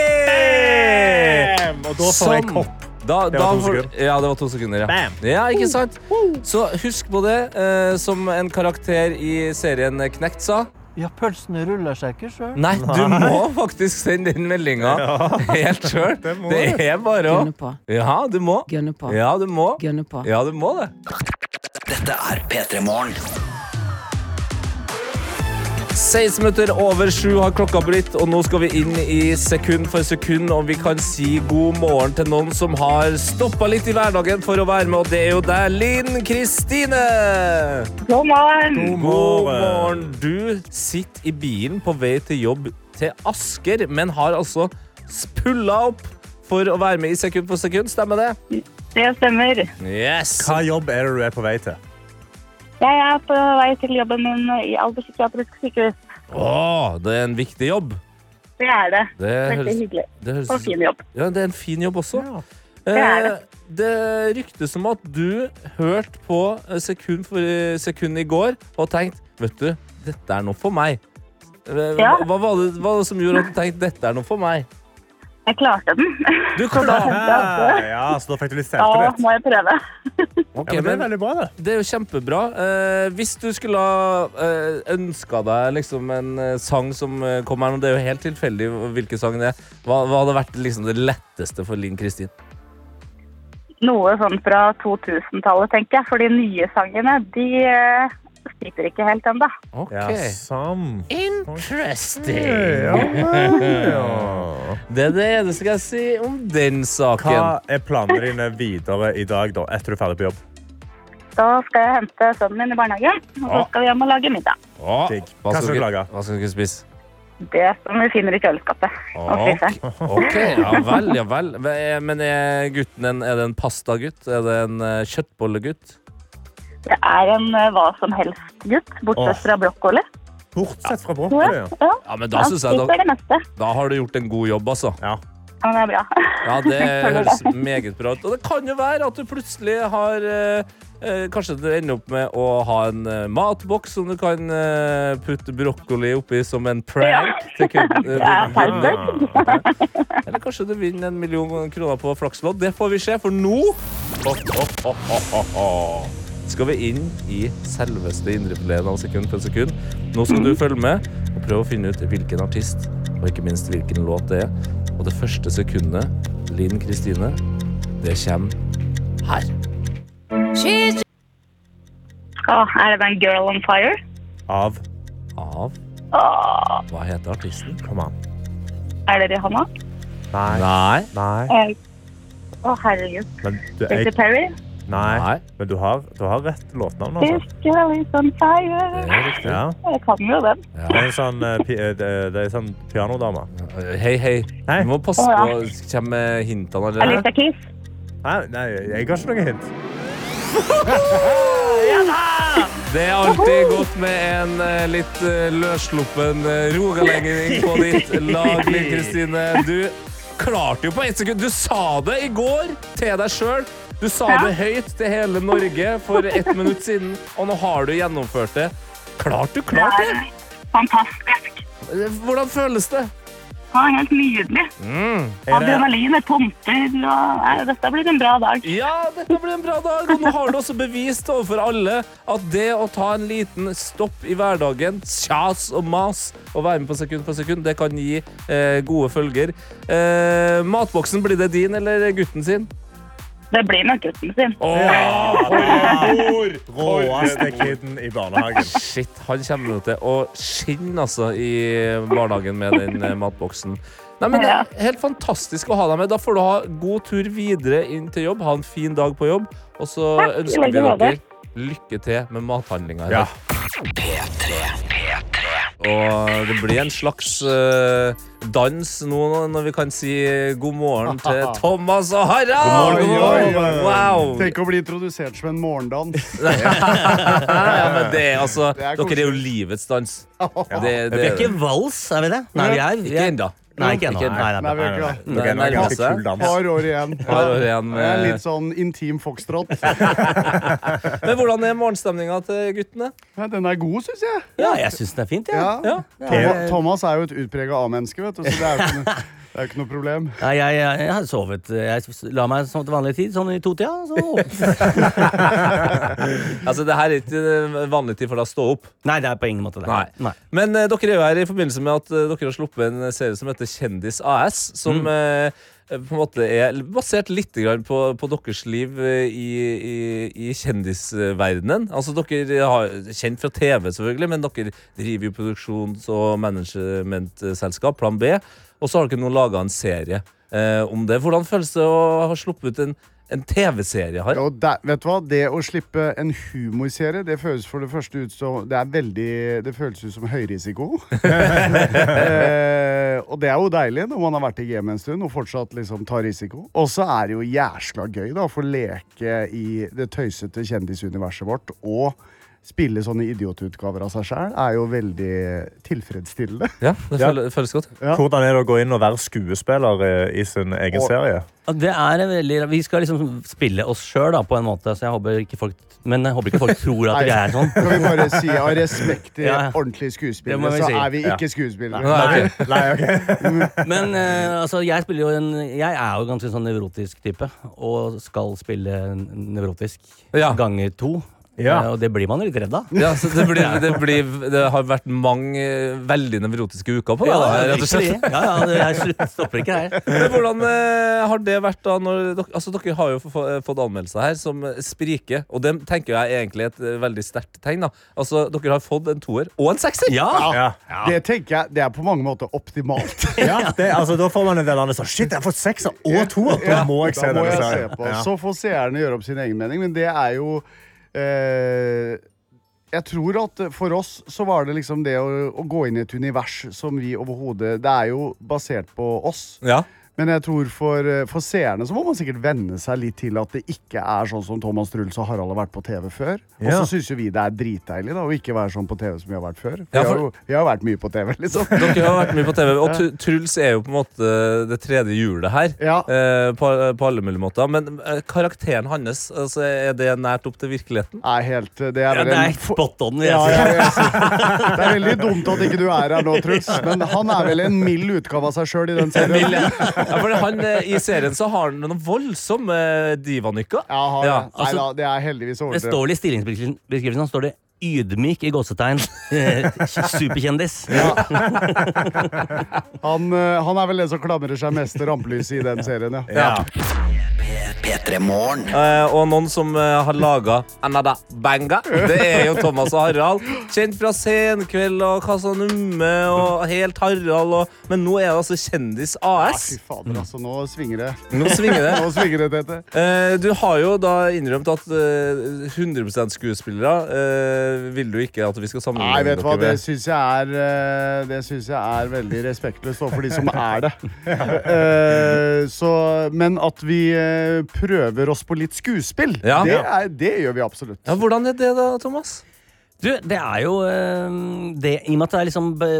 [SPEAKER 4] Bam! Og da får jeg
[SPEAKER 3] Sånn.
[SPEAKER 4] kopp.
[SPEAKER 3] Da,
[SPEAKER 4] Det var
[SPEAKER 3] da
[SPEAKER 4] to
[SPEAKER 3] får-
[SPEAKER 4] sekunder.
[SPEAKER 3] Ja, det var to sekunder. Ja,
[SPEAKER 4] Bam.
[SPEAKER 3] ja ikke sant? Så husk på det, eh, som en karakter i serien Knekt sa.
[SPEAKER 5] Ja, pølsene ruller seg ikke sjøl.
[SPEAKER 3] Nei, du må faktisk sende den meldinga [laughs]
[SPEAKER 4] [laughs]
[SPEAKER 3] helt sjøl. Det,
[SPEAKER 4] må
[SPEAKER 3] er bare å
[SPEAKER 6] Gønne på.
[SPEAKER 3] Ja, du må.
[SPEAKER 6] Gønne på.
[SPEAKER 3] Ja, du må.
[SPEAKER 6] Gønne på.
[SPEAKER 3] Ja, du må det.
[SPEAKER 1] Dette er P3 Morgen.
[SPEAKER 3] 16 minutter over sju har klokka blitt, og nå skal vi inn i sekund for sekund. Og vi kan si god morgen til noen som har stoppa litt i hverdagen for å være med, og det er jo deg, Linn Kristine.
[SPEAKER 7] God morgen.
[SPEAKER 4] God
[SPEAKER 3] God
[SPEAKER 4] morgen.
[SPEAKER 3] morgen. Du sitter i bilen på vei til jobb til Asker, men har altså pulla opp for å være med i sekund for sekund. Stemmer det?
[SPEAKER 7] Det stemmer.
[SPEAKER 3] Yes!
[SPEAKER 4] Hva jobb er det du er på vei til?
[SPEAKER 7] Jeg er på vei til jobben min i Alder psykiatrisk sykehus.
[SPEAKER 3] Åh, det er en viktig jobb.
[SPEAKER 7] Det er det.
[SPEAKER 3] Det
[SPEAKER 7] Veldig
[SPEAKER 3] høres,
[SPEAKER 7] hyggelig.
[SPEAKER 3] det høres
[SPEAKER 7] Og fin jobb.
[SPEAKER 3] Ja, det er en fin jobb også.
[SPEAKER 7] er det.
[SPEAKER 3] Eh, det ryktes om at du hørte på sekund for eh, sekund i går og tenkte Vet du, dette er noe for meg. Hva,
[SPEAKER 7] Ja.
[SPEAKER 3] hva, var det, hva var det som gjorde at du tenkte dette er noe for meg?
[SPEAKER 7] Jeg klarte den. [laughs]
[SPEAKER 3] Du kan da
[SPEAKER 4] Ja, ja, så da fikk du litt
[SPEAKER 7] Da
[SPEAKER 4] selvtillit.
[SPEAKER 7] må jeg prøve.
[SPEAKER 3] Ok,
[SPEAKER 4] Ja, men det er
[SPEAKER 3] men
[SPEAKER 4] veldig bra, det.
[SPEAKER 3] det er jo kjempebra. Eh, hvis du skulle ha eh, ønska deg liksom en eh, sang som eh, kom her nå, det er jo helt tilfeldig hvilken sang det er, hva, hva hadde vært liksom det letteste for Linn Kristin?
[SPEAKER 7] Noe sånn fra 2000-tallet, tenker jeg. For de nye sangene, de eh, sliter ikke helt ennå.
[SPEAKER 3] Ok.
[SPEAKER 4] Ja, sam.
[SPEAKER 3] Interesting.
[SPEAKER 4] Ja, ja.
[SPEAKER 3] [laughs] Det er det eneste jeg skal si om den saken.
[SPEAKER 4] Hva er planene dine videre i dag, da, etter du er ferdig på jobb?
[SPEAKER 7] Da skal jeg hente sønnen min i barnehagen, og så skal vi hjem og lage middag.
[SPEAKER 3] Åh,
[SPEAKER 4] Digg.
[SPEAKER 3] Hva
[SPEAKER 4] Hva skal du
[SPEAKER 3] dere-
[SPEAKER 4] lage?
[SPEAKER 3] Hva skal dere
[SPEAKER 4] [laughs]
[SPEAKER 3] spise?
[SPEAKER 7] Det som vi finner i kjøleskapet. Og
[SPEAKER 3] Ok.
[SPEAKER 7] fryseren.
[SPEAKER 3] Ok, ja vel, ja vel. Men er gutten en, er det en pastagutt? Er det en eh, kjøttbollegutt?
[SPEAKER 7] Det er en eh, hva som helst-gutt, bortsett
[SPEAKER 4] Åh.
[SPEAKER 7] fra brokkoli.
[SPEAKER 4] Bortsett fra
[SPEAKER 7] tror
[SPEAKER 4] brokkoli.
[SPEAKER 7] jeg. Ja.
[SPEAKER 3] Ja, men da
[SPEAKER 7] Han
[SPEAKER 3] synes jeg
[SPEAKER 7] spiser
[SPEAKER 3] da,
[SPEAKER 7] det meste.
[SPEAKER 3] da har du gjort en god jobb, altså.
[SPEAKER 4] Ja.
[SPEAKER 7] Han er bra.
[SPEAKER 3] Ja, det
[SPEAKER 7] Føler
[SPEAKER 3] høres
[SPEAKER 7] det.
[SPEAKER 3] meget bra ut. Og det kan jo være at du plutselig har eh, eh, Kanskje du ender opp med å ha en eh, matboks som du kan eh, putte brokkoli oppi som en prank. til kunden- eh,
[SPEAKER 7] [laughs] Ja,
[SPEAKER 3] kunden din.
[SPEAKER 4] Ah.
[SPEAKER 3] Eller kanskje du vinner en million kroner på Flakslodd. Det får vi se, for nå skal vi inn i selveste indrefileten av sekund for sekund. Nå skal du følge med og prøve å finne ut hvilken artist og ikke minst hvilken låt det er. Og det første sekundet, Linn Kristine, det kommer her.
[SPEAKER 7] Åh, er det den Girl on Fire?
[SPEAKER 4] Av
[SPEAKER 3] Av
[SPEAKER 7] Åh,
[SPEAKER 3] Hva heter artisten?
[SPEAKER 4] Kom an.
[SPEAKER 7] er det Rihanna?
[SPEAKER 4] Nei.
[SPEAKER 3] Nei.
[SPEAKER 4] Nei.
[SPEAKER 7] Eh, Åh, herregud.
[SPEAKER 4] Men du,
[SPEAKER 7] Katy
[SPEAKER 4] jeg,
[SPEAKER 7] Perry?
[SPEAKER 4] nei.
[SPEAKER 3] Nei.
[SPEAKER 4] Men du har, du har rett låtnavn,
[SPEAKER 7] This
[SPEAKER 4] altså.
[SPEAKER 7] girl is on
[SPEAKER 3] Det
[SPEAKER 7] fire.
[SPEAKER 3] er riktig.
[SPEAKER 4] Ja.
[SPEAKER 7] Jeg kan jo den.
[SPEAKER 4] Det er en sånn, eh, pi- eh, det det er en sånn pianodame.
[SPEAKER 3] Hei, hei.
[SPEAKER 4] Hei.
[SPEAKER 3] Du må passe
[SPEAKER 7] Å, ja.
[SPEAKER 3] på å komme med hintene allerede.
[SPEAKER 7] Alicia Keys.
[SPEAKER 4] Nei, nei, jeg har ikke noe hint.
[SPEAKER 3] Det er alltid godt med en eh, litt eh, løssluppen eh, rogalending på ditt lag, Linn Kristine. Du klarte jo på ett sekund. Du sa det i går til deg sjøl. Du sa det høyt til hele Norge for ett minutt siden, og nå har du gjennomført det. Klart du klarte det!
[SPEAKER 7] Fantastisk.
[SPEAKER 3] Hvordan føles det?
[SPEAKER 7] Han er helt nydelig.
[SPEAKER 4] Mm. Er det,
[SPEAKER 7] Adrenalinet pumper. Og, nei, dette blir en bra dag.
[SPEAKER 3] Ja, dette blir en bra dag, og nå har du også bevist overfor alle at det å ta en liten stopp i hverdagen, kjas og mas, og være med på sekund for sekund, det kan gi eh, gode følger. Eh, matboksen, blir det din eller gutten sin?
[SPEAKER 7] Det blir nok gutten sin.
[SPEAKER 4] råeste kiden i barnehagen.
[SPEAKER 3] Shit, han kommer nå til å skinne altså, i barnehagen med den eh, matboksen. Nei, men det er Helt fantastisk å ha deg med. Da får du ha god tur videre inn til jobb. Ha en fin dag på jobb. Og så
[SPEAKER 7] Takk, i
[SPEAKER 3] ønsker vi
[SPEAKER 7] like
[SPEAKER 3] dere
[SPEAKER 7] måte.
[SPEAKER 3] lykke til med mathandlinga. i
[SPEAKER 4] Ja.
[SPEAKER 3] dag. Og det blir en slags eh, dans nå når vi kan si god morgen
[SPEAKER 6] [laughs]
[SPEAKER 3] til Thomas og Harald!
[SPEAKER 6] God morgen.
[SPEAKER 3] Wow!
[SPEAKER 6] Tenk å bli introdusert som en
[SPEAKER 3] [laughs]
[SPEAKER 6] morgendans.
[SPEAKER 3] Ja, men det, er altså,
[SPEAKER 6] Det er
[SPEAKER 3] dere er jo livets dans. Det,
[SPEAKER 8] Vi er ikke vals, er vi det? Nei, vi er, vi
[SPEAKER 3] Ikke
[SPEAKER 8] er
[SPEAKER 3] ennå.
[SPEAKER 8] Nei, ikke ennå.
[SPEAKER 3] Ikke
[SPEAKER 8] Nei, nei,
[SPEAKER 6] Nei, vi
[SPEAKER 8] nei.
[SPEAKER 6] gjør ikke
[SPEAKER 4] Ok, nå
[SPEAKER 6] det.
[SPEAKER 4] er det
[SPEAKER 3] Nærmer
[SPEAKER 4] ganske
[SPEAKER 3] seg.
[SPEAKER 4] kul dans.
[SPEAKER 6] Par år igjen.
[SPEAKER 3] Par år igjen
[SPEAKER 6] Det er
[SPEAKER 3] med-
[SPEAKER 6] Litt sånn intim foxtrot.
[SPEAKER 3] Men hvordan er morgenstemninga til guttene?
[SPEAKER 6] Ja, den er god, syns jeg.
[SPEAKER 8] Ja, jeg syns den er fint, jeg. Ja.
[SPEAKER 6] Ja. Toma- Thomas er jo et utprega A-menneske, vet du, så det er jo ikke noe, det er jo ikke noe problem.
[SPEAKER 8] Nei, jeg, jeg, jeg har sovet Jeg s- la meg som til vanlig tid, sånn i totida.
[SPEAKER 3] [laughs]
[SPEAKER 8] Så.
[SPEAKER 3] Altså, det her er ikke eh, vanlig tid for deg å stå opp.
[SPEAKER 8] Nei, det er på ingen måte det.
[SPEAKER 3] Nei.
[SPEAKER 8] Nei.
[SPEAKER 3] Men eh, dere er jo her i forbindelse med at eh, dere har sluppet en serie som heter Kjendis AS. Som eh, på en måte er basert litt grann på, på deres liv eh, i, i, i kjendisverdenen. Altså, dere har kjent fra TV, selvfølgelig, men dere driver jo produksjons- og managementselskap, Plan B. Og så har dere nå laga en serie eh, om det. Hvordan føles det å ha sluppet ut en, en TV-serie? Harald?
[SPEAKER 6] Og der, vet du hva? Det å slippe en humorserie, det føles for det første ut som Det, er veldig, det føles ut som høyrisiko. eh, og det er jo deilig når man har vært i gamet en stund og fortsatt liksom tar risiko. Og så er det jo jæsla gøy da, å få leke i det tøysete kjendisuniverset vårt. og spille sånne idiotutgaver av seg sjæl, er jo veldig tilfredsstillende.
[SPEAKER 3] Ja, det
[SPEAKER 6] Ja.
[SPEAKER 3] føles, føles godt.
[SPEAKER 6] Ja.
[SPEAKER 4] Hvordan er det å gå inn og være skuespiller eh, i sin egen
[SPEAKER 6] Å.
[SPEAKER 4] serie?
[SPEAKER 8] Ja, Det er en veldig Vi skal liksom spille oss sjøl, da, på en måte. Så jeg håper ikke folk Men jeg håper ikke folk tror
[SPEAKER 3] [laughs]
[SPEAKER 8] at vi er sånn.
[SPEAKER 6] Kan vi bare si av respekt til
[SPEAKER 8] Ja, ja. Det må
[SPEAKER 6] ordentlige skuespillere,
[SPEAKER 8] vi
[SPEAKER 6] så
[SPEAKER 8] si.
[SPEAKER 6] er vi ikke skuespillere.
[SPEAKER 3] Nei, ok.
[SPEAKER 4] Nei, ok.
[SPEAKER 8] Men eh, altså, jeg spiller jo en Jeg er jo ganske sånn nevrotisk type. Og skal spille en nevrotisk
[SPEAKER 3] Ja.
[SPEAKER 8] ganger to.
[SPEAKER 4] Ja.
[SPEAKER 8] Eh, og det blir man jo litt redd av.
[SPEAKER 3] Ja, så det, blir, det, blir, det har vært mange eh, veldig nevrotiske uker på deg, da, rett og slett.
[SPEAKER 8] Ja, ja, det- jeg slutt- stopper ikke her.
[SPEAKER 3] Men hvordan eh, har det vært da når dere, altså dere har jo få- få- fått anmeldelser her som eh, spriker, og det tenker jeg er egentlig et eh, veldig sterkt tegn. da. Altså, Dere har fått en toer og en sekser!
[SPEAKER 8] Ja!
[SPEAKER 4] Ja.
[SPEAKER 6] Det tenker jeg, det er på mange måter optimalt.
[SPEAKER 4] Ja, det, altså, da får man en del andre sånn Shit, jeg har fått sekser og toer! [laughs] Da må jeg se
[SPEAKER 6] Da må
[SPEAKER 4] denne
[SPEAKER 6] jeg
[SPEAKER 4] serien.
[SPEAKER 6] se på.
[SPEAKER 4] Ja.
[SPEAKER 6] Så får seerne gjøre opp sin egen mening, men det er jo eh, Jeg tror at for oss så var det liksom det å, å gå inn i et univers som vi overhodet Det er jo basert på oss.
[SPEAKER 3] Ja.
[SPEAKER 6] Men jeg tror for, eh, for seerne så må man sikkert venne seg litt til at det ikke er sånn som Thomas Truls og Harald har vært på TV før. Og
[SPEAKER 4] Ja.
[SPEAKER 6] så syns jo vi det er dritdeilig da, å ikke være sånn på TV som vi har vært før.
[SPEAKER 3] Ja,
[SPEAKER 6] Vi har
[SPEAKER 3] for-
[SPEAKER 6] jo vi har jo vært mye på TV,
[SPEAKER 4] [laughs]
[SPEAKER 6] liksom.
[SPEAKER 3] Dere har vært mye på TV, og Tr- Truls er jo på en måte det tredje hjulet her.
[SPEAKER 6] Ja.
[SPEAKER 3] eh, På, på alle mulige måter. Men eh, karakteren hans, altså, er det nært opp til virkeligheten?
[SPEAKER 6] Nei, helt, eh, det er
[SPEAKER 8] Ja,
[SPEAKER 6] vel
[SPEAKER 8] det er
[SPEAKER 6] en for-
[SPEAKER 8] spot on. Jeg
[SPEAKER 6] Ja,
[SPEAKER 8] synes.
[SPEAKER 6] ja, jeg sier. Det er veldig dumt at ikke du er her nå, Truls. Men han er vel en mild utgave av seg sjøl i den serien.
[SPEAKER 3] Ja, for han, eh, I serien så har han noen voldsomme eh, divanykker.
[SPEAKER 6] Ja, han,
[SPEAKER 3] Ja,
[SPEAKER 6] nei
[SPEAKER 8] altså-
[SPEAKER 6] da, det er heldigvis
[SPEAKER 8] Det
[SPEAKER 6] overdrevet.
[SPEAKER 8] står vel i stillingsbeskrivelsen han står det ydmyk i gåsetegn. Eh, [laughs] Superkjendis.
[SPEAKER 6] Han, eh, han er vel den som klamrer seg mest til rampelyset i den serien, ja.
[SPEAKER 4] Ja.
[SPEAKER 1] P3 Morgen.
[SPEAKER 3] Eh, og noen som eh, har laga Anada Banga. Det er jo Thomas og Harald. Kjent fra Senkveld og Casa Numme og Helt Harald. Og, men nå er det altså Kjendis
[SPEAKER 6] Ja,
[SPEAKER 3] AS.
[SPEAKER 6] Fy fader, altså. Nå svinger det.
[SPEAKER 3] Nå svinger det.
[SPEAKER 6] Nå svinger det, Tete.
[SPEAKER 3] Eh, du har jo da innrømt at eh, 100 skuespillere eh, vil du ikke at vi skal sammenligne
[SPEAKER 6] Nei, vet du hva, det
[SPEAKER 3] med.
[SPEAKER 6] syns jeg er eh, Det synes jeg er veldig respektløst overfor de som er [laughs] det. Eh, Så, men at vi eh, prøver oss på litt skuespill,
[SPEAKER 3] Ja.
[SPEAKER 6] det, er, det gjør vi absolutt.
[SPEAKER 3] Ja, hvordan er det da, Thomas?
[SPEAKER 8] Du, det er jo eh, det, I og med at det er liksom be,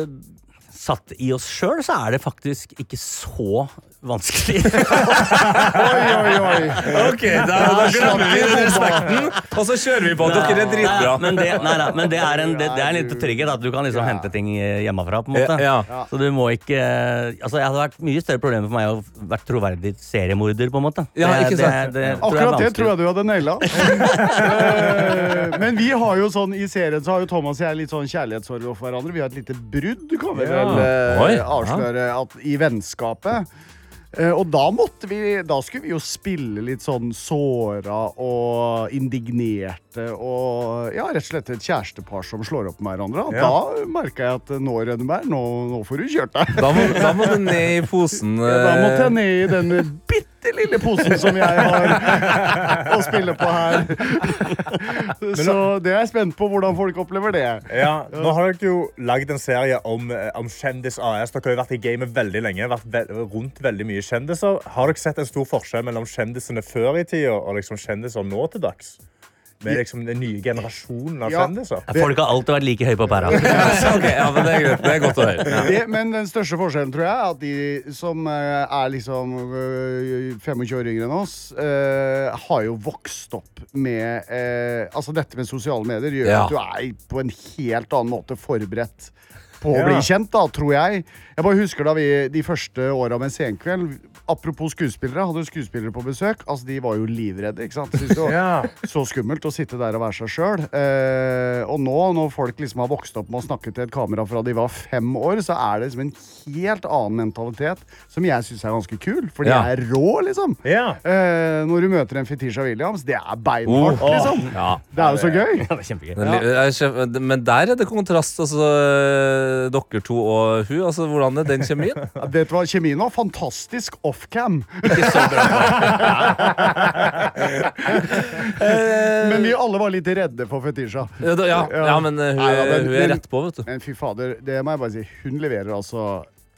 [SPEAKER 8] satt i oss sjøl, så er det faktisk ikke så vanskelig.
[SPEAKER 6] Oi, oi, oi.
[SPEAKER 3] Ok, Da, glemmer vi respekten, og så kjører vi på. Dere er dritbra.
[SPEAKER 8] Nei, men det, nei, nei, men det er en, det, det er litt trygghet at du kan liksom hente ting eh, hjemmefra. på en måte.
[SPEAKER 3] Ja, ja.
[SPEAKER 8] Så du må ikke eh, Altså, Det hadde vært mye større problemer for meg å være troverdig seriemorder. på en måte.
[SPEAKER 3] Ja, ikke sant?
[SPEAKER 6] Akkurat det tror jeg du hadde naila. Eh, Men vi har jo sånn, i serien så har jo Thomas og jeg litt sånn kjærlighetssorg overfor hverandre. Vi har et lite brudd, kan vi vel eh,
[SPEAKER 3] Oi, ja.
[SPEAKER 6] avsløre, at, i vennskapet. Eh, Og da måtte vi Da skulle vi jo spille litt sånn såra og indignerte og ja, rett og slett et kjærestepar som slår opp med hverandre. Og
[SPEAKER 4] Ja.
[SPEAKER 6] Da merka jeg at eh, nå, Rønneberg, nå, nå får du kjørt deg.
[SPEAKER 3] Da må, da må du ned i posen.
[SPEAKER 6] Ja, Da måtte jeg
[SPEAKER 3] eh,
[SPEAKER 6] ned i den bitte lille posen som jeg har å spille på her. Så det er jeg spent på hvordan folk opplever det.
[SPEAKER 4] Ja, nå har dere jo lagd en serie om, eh, om Kjendis AS. Dere har jo vært i gamet veldig lenge. vært ve rundt veldig mye kjendiser. Har dere sett en stor forskjell mellom kjendisene før i tida og liksom kjendiser nå til dags? Med liksom den nye generasjonen av
[SPEAKER 6] Ja.
[SPEAKER 4] kjendiser?
[SPEAKER 8] Folk har alltid vært like høye på pæra.
[SPEAKER 3] Ok, eh, ja, men det er greit. Det er godt å høre. Ja.
[SPEAKER 6] det. Men den største forskjellen tror jeg er at de som eh, er liksom eh, 25 år yngre enn oss, eh, har jo vokst opp med eh, Altså dette med sosiale medier gjør
[SPEAKER 3] Ja.
[SPEAKER 6] at du er på en helt annen måte forberedt. På å
[SPEAKER 4] Ja.
[SPEAKER 6] bli kjent, da, tror jeg. Jeg bare husker da vi de første åra med Senkveld Apropos skuespillere, hadde du skuespillere på besøk. Altså, De var jo livredde. ikke sant? Synes det var,
[SPEAKER 4] Ja.
[SPEAKER 6] så skummelt å sitte der og være seg sjøl. Eh, og nå, når folk liksom har vokst opp med å snakke til et kamera fra de var fem år, så er det liksom en helt annen mentalitet, som jeg syns er ganske kul. For de
[SPEAKER 3] Ja.
[SPEAKER 6] er rå, liksom.
[SPEAKER 4] Ja.
[SPEAKER 6] Eh, når du møter en Fetisha Williams, det er beinhardt,
[SPEAKER 3] Oh.
[SPEAKER 6] liksom.
[SPEAKER 3] Ja.
[SPEAKER 6] Det er jo så gøy.
[SPEAKER 8] Det er kjempegøy.
[SPEAKER 3] Men li- jeg skjønner- Men der er det kontrast, altså. Dere to og hun. Altså, hvordan er den kjemien?
[SPEAKER 6] Ja, Vet du hva, kjemien var fantastisk offcam. [laughs] Men vi alle var litt redde for Fetisha.
[SPEAKER 3] Ja, da- ja, ja men eh, hun,
[SPEAKER 6] Nei, ja,
[SPEAKER 3] er-
[SPEAKER 6] men-
[SPEAKER 3] hun er
[SPEAKER 6] men-
[SPEAKER 3] rett på, vet du.
[SPEAKER 6] Men fy fader, det må jeg bare si. Hun leverer altså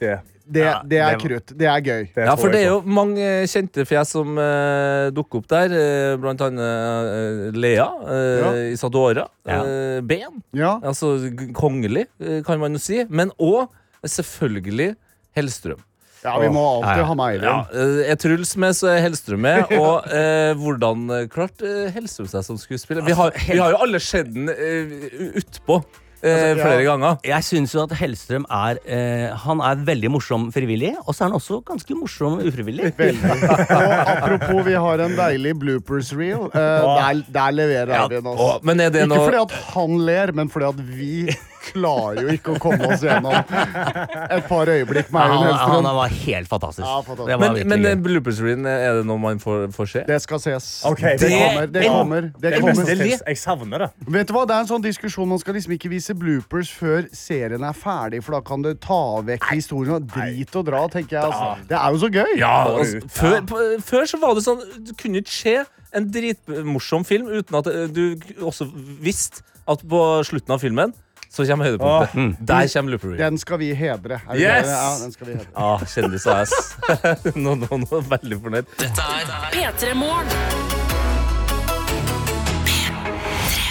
[SPEAKER 4] det,
[SPEAKER 6] Det,
[SPEAKER 4] Ja,
[SPEAKER 6] det er
[SPEAKER 4] det-
[SPEAKER 6] krutt. Det er gøy.
[SPEAKER 4] det
[SPEAKER 3] Ja,
[SPEAKER 4] tror
[SPEAKER 3] for det
[SPEAKER 4] jeg
[SPEAKER 3] er
[SPEAKER 4] på.
[SPEAKER 3] jo mange eh, kjente fjes som eh, dukker opp der. eh, blant annet eh, Lea eh, i Sadora.
[SPEAKER 8] Ja.
[SPEAKER 3] eh, ben.
[SPEAKER 6] Ja.
[SPEAKER 3] Altså g- kongelig, eh, kan man jo si. Men òg selvfølgelig Hellstrøm.
[SPEAKER 6] ja, vi må alltid
[SPEAKER 8] ja.
[SPEAKER 6] ha med
[SPEAKER 3] Ja,
[SPEAKER 6] Eivind.
[SPEAKER 3] eh, er Truls med, så er Hellstrøm med. Og eh, hvordan eh, klarte eh, Hellstrøm seg som skuespiller? Vi har, vi har jo alle sett den eh, utpå eh, flere ganger.
[SPEAKER 8] Jeg syns jo at Hellstrøm er eh, Han er veldig morsom frivillig, og så er han også ganske morsom ufrivillig.
[SPEAKER 6] Og apropos, vi har en deilig bloopers reel. Eh, der, der leverer Eivind oss.
[SPEAKER 3] Å, men er det
[SPEAKER 6] Ikke
[SPEAKER 3] noe
[SPEAKER 6] fordi at han ler, men fordi at vi klarer jo ikke å komme oss gjennom et par øyeblikk med
[SPEAKER 8] Han,
[SPEAKER 6] Eivind
[SPEAKER 8] han,
[SPEAKER 6] Hellstrøm.
[SPEAKER 8] var helt fantastisk.
[SPEAKER 6] Ja, fantastisk.
[SPEAKER 8] Det var
[SPEAKER 3] Men,
[SPEAKER 8] virkelig
[SPEAKER 3] men
[SPEAKER 8] gøy.
[SPEAKER 3] eh, bloopers-reen, er det noe man får, får se?
[SPEAKER 6] Det skal ses.
[SPEAKER 4] Ok,
[SPEAKER 6] det,
[SPEAKER 4] det-
[SPEAKER 6] kommer. Det
[SPEAKER 3] en-
[SPEAKER 6] kommer. Det
[SPEAKER 4] Det er
[SPEAKER 6] kommer.
[SPEAKER 4] beste tips. Jeg savner det.
[SPEAKER 6] Vet du hva, Det er en sånn diskusjon Man skal liksom ikke vise bloopers før serien er ferdig, for da kan det ta vekk historien. og Drit og dra, tenker jeg. Altså. Det er jo så gøy.
[SPEAKER 3] Ja,
[SPEAKER 4] Får
[SPEAKER 3] altså,
[SPEAKER 4] ut.
[SPEAKER 3] før, på- før så var det sånn Du kunne ikke se en dritmorsom film uten at eh, du k- også visste at på slutten av filmen så kommer
[SPEAKER 8] Ah.
[SPEAKER 3] høydepunktet.
[SPEAKER 8] Mm.
[SPEAKER 3] Der kommer Loopery.
[SPEAKER 6] Den skal vi hedre. Er du
[SPEAKER 3] Yes!
[SPEAKER 6] klar? Ja, den skal vi hedre.
[SPEAKER 3] Ah, Kjendisass. [laughs] nå, nå, nå er jeg veldig fornøyd.
[SPEAKER 2] P3 Morgen.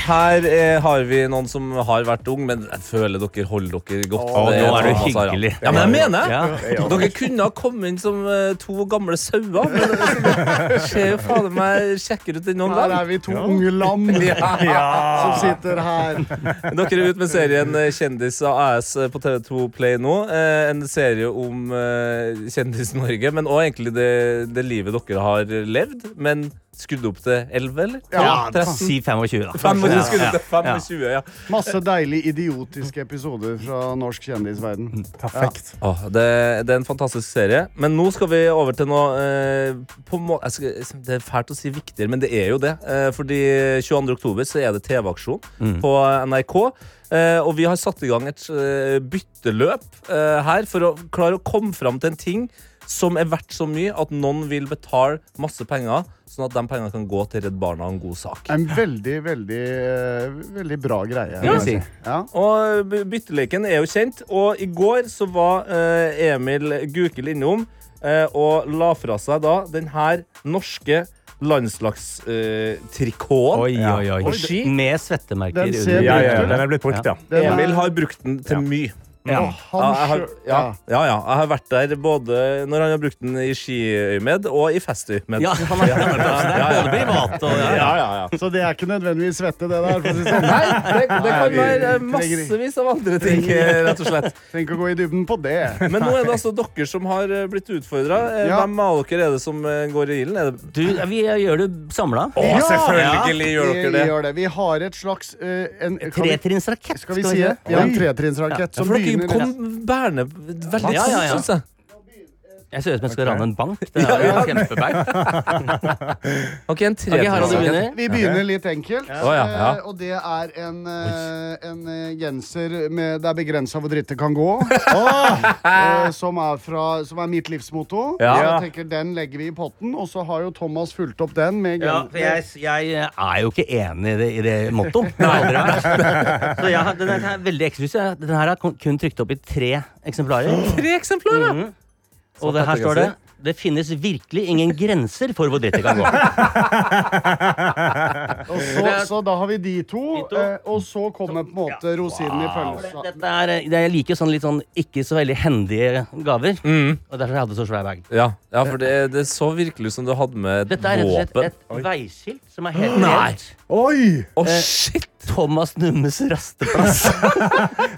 [SPEAKER 3] Her eh, har vi noen som har vært ung, men jeg føler dere holder dere godt.
[SPEAKER 8] Å,
[SPEAKER 3] Det
[SPEAKER 8] nå er du
[SPEAKER 3] Thomas Harald.
[SPEAKER 8] hyggelig.
[SPEAKER 3] altså, Ja, men jeg mener
[SPEAKER 8] Ja.
[SPEAKER 3] Dere kunne ha kommet inn som eh, to gamle sauer, men [laughs] det ser jo fader meg kjekkere ut enn noen
[SPEAKER 6] Her
[SPEAKER 3] gang.
[SPEAKER 6] er vi to unge lam
[SPEAKER 3] [laughs]
[SPEAKER 6] som sitter her.
[SPEAKER 3] Dere er ute med serien eh, Kjendis AS eh, på TV2 Play nå. Eh, En serie om eh, Kjendis-Norge, men òg egentlig det, det livet dere har levd. Men skrudd opp til 11, eller?
[SPEAKER 6] Ja,
[SPEAKER 3] Tretten?
[SPEAKER 8] Si 25, da.
[SPEAKER 3] 25,
[SPEAKER 8] Ja,
[SPEAKER 3] skrudd
[SPEAKER 8] ja,
[SPEAKER 3] opp til
[SPEAKER 8] ja.
[SPEAKER 3] 25, ja.
[SPEAKER 6] Masse deilig idiotiske episoder fra norsk kjendisverden.
[SPEAKER 4] Perfekt.
[SPEAKER 3] Åh, det, det er en fantastisk serie. Men nå skal vi over til noe eh, på må jeg skal, Det er fælt å si viktigere, men det er jo det. Eh, fordi 22. oktober så er det TV-aksjon på NRK. Eh, og vi har satt i gang et eh, bytteløp eh, her for å klare å komme fram til en ting som er verdt så mye at noen vil betale masse penger, sånn at de pengene kan gå til Redd Barna og en god sak.
[SPEAKER 6] En veldig, veldig, eh, veldig bra greie.
[SPEAKER 3] Ja.
[SPEAKER 6] vil jeg si. Ja.
[SPEAKER 3] Og by- bytteleken er jo kjent, og i går så var eh, Emil Gukild innom eh, og la fra seg da den her norske landslagstrikoten.
[SPEAKER 8] Oi, oi, oi.
[SPEAKER 3] På ski.
[SPEAKER 8] Med svettemerker
[SPEAKER 6] Den ser
[SPEAKER 4] Ja,
[SPEAKER 8] under.
[SPEAKER 4] ja, den er blitt brukt, ja.
[SPEAKER 6] Den er-
[SPEAKER 3] Emil har brukt den til mye.
[SPEAKER 8] Ja.
[SPEAKER 6] Å, han
[SPEAKER 3] Ja, jeg har,
[SPEAKER 6] sjø-
[SPEAKER 3] ja,
[SPEAKER 6] ja.
[SPEAKER 3] ja, ja, jeg har vært der både når han har brukt den i skiøyemed og i festøyemed.
[SPEAKER 8] Ja, han er, han er plass der. Både privat og ja, ja.
[SPEAKER 6] Så det er ikke nødvendigvis svette, det der. For å si det sånn.
[SPEAKER 3] Nei, det, det kan
[SPEAKER 6] Nei, vi
[SPEAKER 3] være eh,
[SPEAKER 6] trenger ikke-
[SPEAKER 3] massevis av andre ting, eh, rett og slett.
[SPEAKER 6] Trenger ikke å gå i dybden på det.
[SPEAKER 3] [laughs] Men nå er det altså dere som har eh, blitt utfordra.
[SPEAKER 6] Ja.
[SPEAKER 3] Hvem av dere er det som eh, går i ilden? Er det
[SPEAKER 8] Du, vi gjør det samla.
[SPEAKER 3] Å, selvfølgelig gjør
[SPEAKER 6] Vi
[SPEAKER 3] dere det.
[SPEAKER 6] gjør det. Vi har et slags eh, en, kan vi-
[SPEAKER 8] Tretrinnsrakett.
[SPEAKER 6] Skal vi si det? Vi har en
[SPEAKER 8] Ja,
[SPEAKER 6] tretrinnsrakett
[SPEAKER 3] Ja,
[SPEAKER 6] som
[SPEAKER 3] for dere
[SPEAKER 6] begynner
[SPEAKER 3] kom bærende veldig
[SPEAKER 8] Ja, ja, ja.
[SPEAKER 3] sånn, synes jeg.
[SPEAKER 8] Jeg ser ut som jeg skal rane en bank. Det er jo en kjempebank.
[SPEAKER 3] Ok, en
[SPEAKER 8] Ok, Harald, du begynner.
[SPEAKER 6] Vi begynner litt enkelt.
[SPEAKER 3] Å, ja, ja.
[SPEAKER 6] eh, Og det er en, eh, en eh, genser med Det er begrensa hvor dritt det kan gå. eh, som, er fra, som er mitt livsmotto.
[SPEAKER 3] Ja.
[SPEAKER 6] Jeg tenker Den legger vi i potten, og så har jo Thomas fulgt opp den med
[SPEAKER 8] Ja,
[SPEAKER 6] gen
[SPEAKER 8] for jeg, jeg eh, er jo ikke enig i det, i det
[SPEAKER 6] [laughs]
[SPEAKER 8] mottoen. Det har aldri vært. [laughs] Så ja, den er- den er veldig eksklusiv. Den her er kun- kun trykt opp i tre eksemplarer.
[SPEAKER 3] Tre eksemplarer!
[SPEAKER 8] Mhm. Og det her står det det finnes virkelig ingen grenser for hvor dritt det kan gå.
[SPEAKER 6] Og så, så da har vi de to,
[SPEAKER 8] De to.
[SPEAKER 6] eh, og så kommer [laughs] på en måte rosinen i pølsa.
[SPEAKER 8] Dette er, det- jeg liker sånn litt sånn ikke så veldig hendige gaver.
[SPEAKER 6] Mm.
[SPEAKER 8] Og derfor hadde jeg så svær bag.
[SPEAKER 3] Ja, ja for det, det så virkelig ut som du hadde med et
[SPEAKER 8] Dette er rett og slett
[SPEAKER 3] våpen.
[SPEAKER 8] et veiskilt som er helt
[SPEAKER 3] Nei.
[SPEAKER 8] rent.
[SPEAKER 4] Oi!
[SPEAKER 3] Å,
[SPEAKER 8] eh,
[SPEAKER 3] shit!
[SPEAKER 8] Thomas Nummes rasteplass.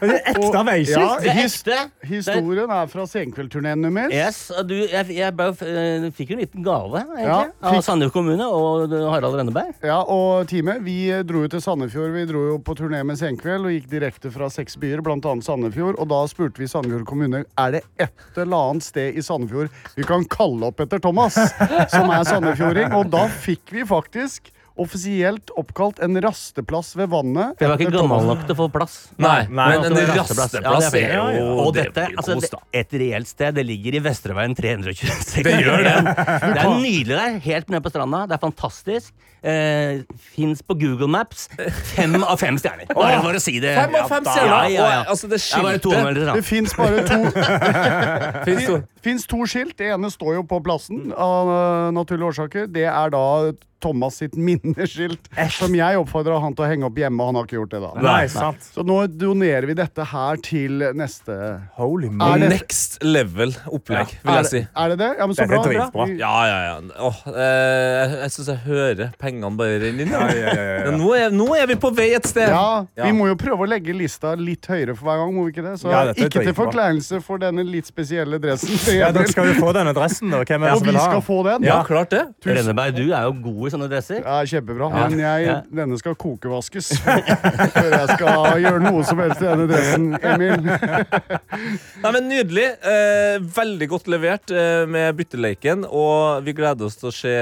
[SPEAKER 4] Ekte
[SPEAKER 6] Ja,
[SPEAKER 4] veiskilt.
[SPEAKER 8] Det er
[SPEAKER 6] his
[SPEAKER 8] ekte.
[SPEAKER 6] historien er fra Senkveldturneen nummer.
[SPEAKER 8] Yes, og du, jeg, jeg, bare f- eh, fikk jo en liten gave egentlig,
[SPEAKER 6] Ja, fikk-
[SPEAKER 8] av Sandefjord kommune og eh, Harald Renneberg.
[SPEAKER 6] Ja, og teamet, vi eh, dro jo til Sandefjord. Vi dro jo på turné med Senkveld og gikk direkte fra seks byer, bl.a. Sandefjord. Og da spurte vi Sandefjord kommune er det et eller annet sted i
[SPEAKER 8] [laughs]
[SPEAKER 6] Sandefjord vi kan kalle opp etter Thomas, som er sandefjording. Og da fikk vi faktisk offisielt oppkalt en rasteplass ved vannet.
[SPEAKER 8] For jeg var ikke
[SPEAKER 6] etter
[SPEAKER 8] gammel
[SPEAKER 6] Thomas-
[SPEAKER 8] nok til å få plass.
[SPEAKER 3] Nei,
[SPEAKER 4] Nei,
[SPEAKER 3] men
[SPEAKER 4] altså, det
[SPEAKER 3] en
[SPEAKER 4] er
[SPEAKER 3] rasteplass
[SPEAKER 8] Ja, det
[SPEAKER 3] er
[SPEAKER 8] er-
[SPEAKER 3] jo
[SPEAKER 8] Og
[SPEAKER 3] det
[SPEAKER 8] dette,
[SPEAKER 3] blir
[SPEAKER 8] altså,
[SPEAKER 3] kos,
[SPEAKER 8] det,
[SPEAKER 3] da.
[SPEAKER 8] et reelt sted. Det ligger i Vestreveien 326.
[SPEAKER 3] Det
[SPEAKER 8] [laughs]
[SPEAKER 3] gjør [laughs] det.
[SPEAKER 8] Det er nydelig der. Helt nede på stranda. Det er fantastisk. Eh, Fins på Google Maps. Fem av fem stjerner. Bare for å si det.
[SPEAKER 3] Fem av fem
[SPEAKER 8] Ja,
[SPEAKER 3] stjerner.
[SPEAKER 8] Ja, ja, ja.
[SPEAKER 3] Og, altså, det
[SPEAKER 8] Det er bare to
[SPEAKER 3] skiltet
[SPEAKER 8] anmeldelser, da.
[SPEAKER 6] Det fins bare
[SPEAKER 8] [laughs]
[SPEAKER 6] to,
[SPEAKER 3] finnes jo.
[SPEAKER 6] finnes to skilt. Det ene står jo på plassen av eh, naturlige årsaker. Det er da Thomas sitt [laughs] minneskilt, som jeg oppfordra han til å henge opp hjemme. Han har ikke gjort det, da.
[SPEAKER 4] Nei, sant.
[SPEAKER 6] Så nå donerer vi dette her til neste
[SPEAKER 4] Holy
[SPEAKER 6] Er
[SPEAKER 3] Ah,
[SPEAKER 4] moly.
[SPEAKER 6] det-
[SPEAKER 3] Next level opplegg, vil
[SPEAKER 6] er,
[SPEAKER 3] jeg si.
[SPEAKER 6] er det det? Ja, men så
[SPEAKER 4] Dette er
[SPEAKER 6] bra.
[SPEAKER 4] dritbra.
[SPEAKER 6] Vi-
[SPEAKER 3] Ja, ja, ja. Åh, eh, jeg jeg syns jeg hører pengene bare renne inn.
[SPEAKER 4] Ja, ja, ja, ja.
[SPEAKER 3] Nå, er, nå er vi på vei et sted.
[SPEAKER 6] Ja,
[SPEAKER 3] Ja.
[SPEAKER 6] Vi må jo prøve å legge lista litt høyere for hver gang. må vi ikke det? Så
[SPEAKER 4] Ja, dette er
[SPEAKER 6] Ikke til
[SPEAKER 4] dritbra.
[SPEAKER 6] forkleinelse for denne litt spesielle dressen.
[SPEAKER 4] [laughs] Ja, dere skal jo få denne dressen. Og hvem er det
[SPEAKER 6] [laughs] Og
[SPEAKER 4] som
[SPEAKER 6] vi
[SPEAKER 4] vil ha
[SPEAKER 6] skal
[SPEAKER 4] den?
[SPEAKER 6] få den.
[SPEAKER 3] Ja, klart det.
[SPEAKER 8] Renneberg, du er jo god i sånne dresser.
[SPEAKER 6] Ja, kjempebra.
[SPEAKER 8] Ja.
[SPEAKER 6] Men jeg,
[SPEAKER 8] Ja.
[SPEAKER 6] denne skal kokevaskes [laughs] før jeg skal gjøre noe som helst i denne dressen, Emil.
[SPEAKER 3] Nei, men Nydelig. Eh, veldig godt levert eh, med bytteleiken. Og vi gleder oss til å se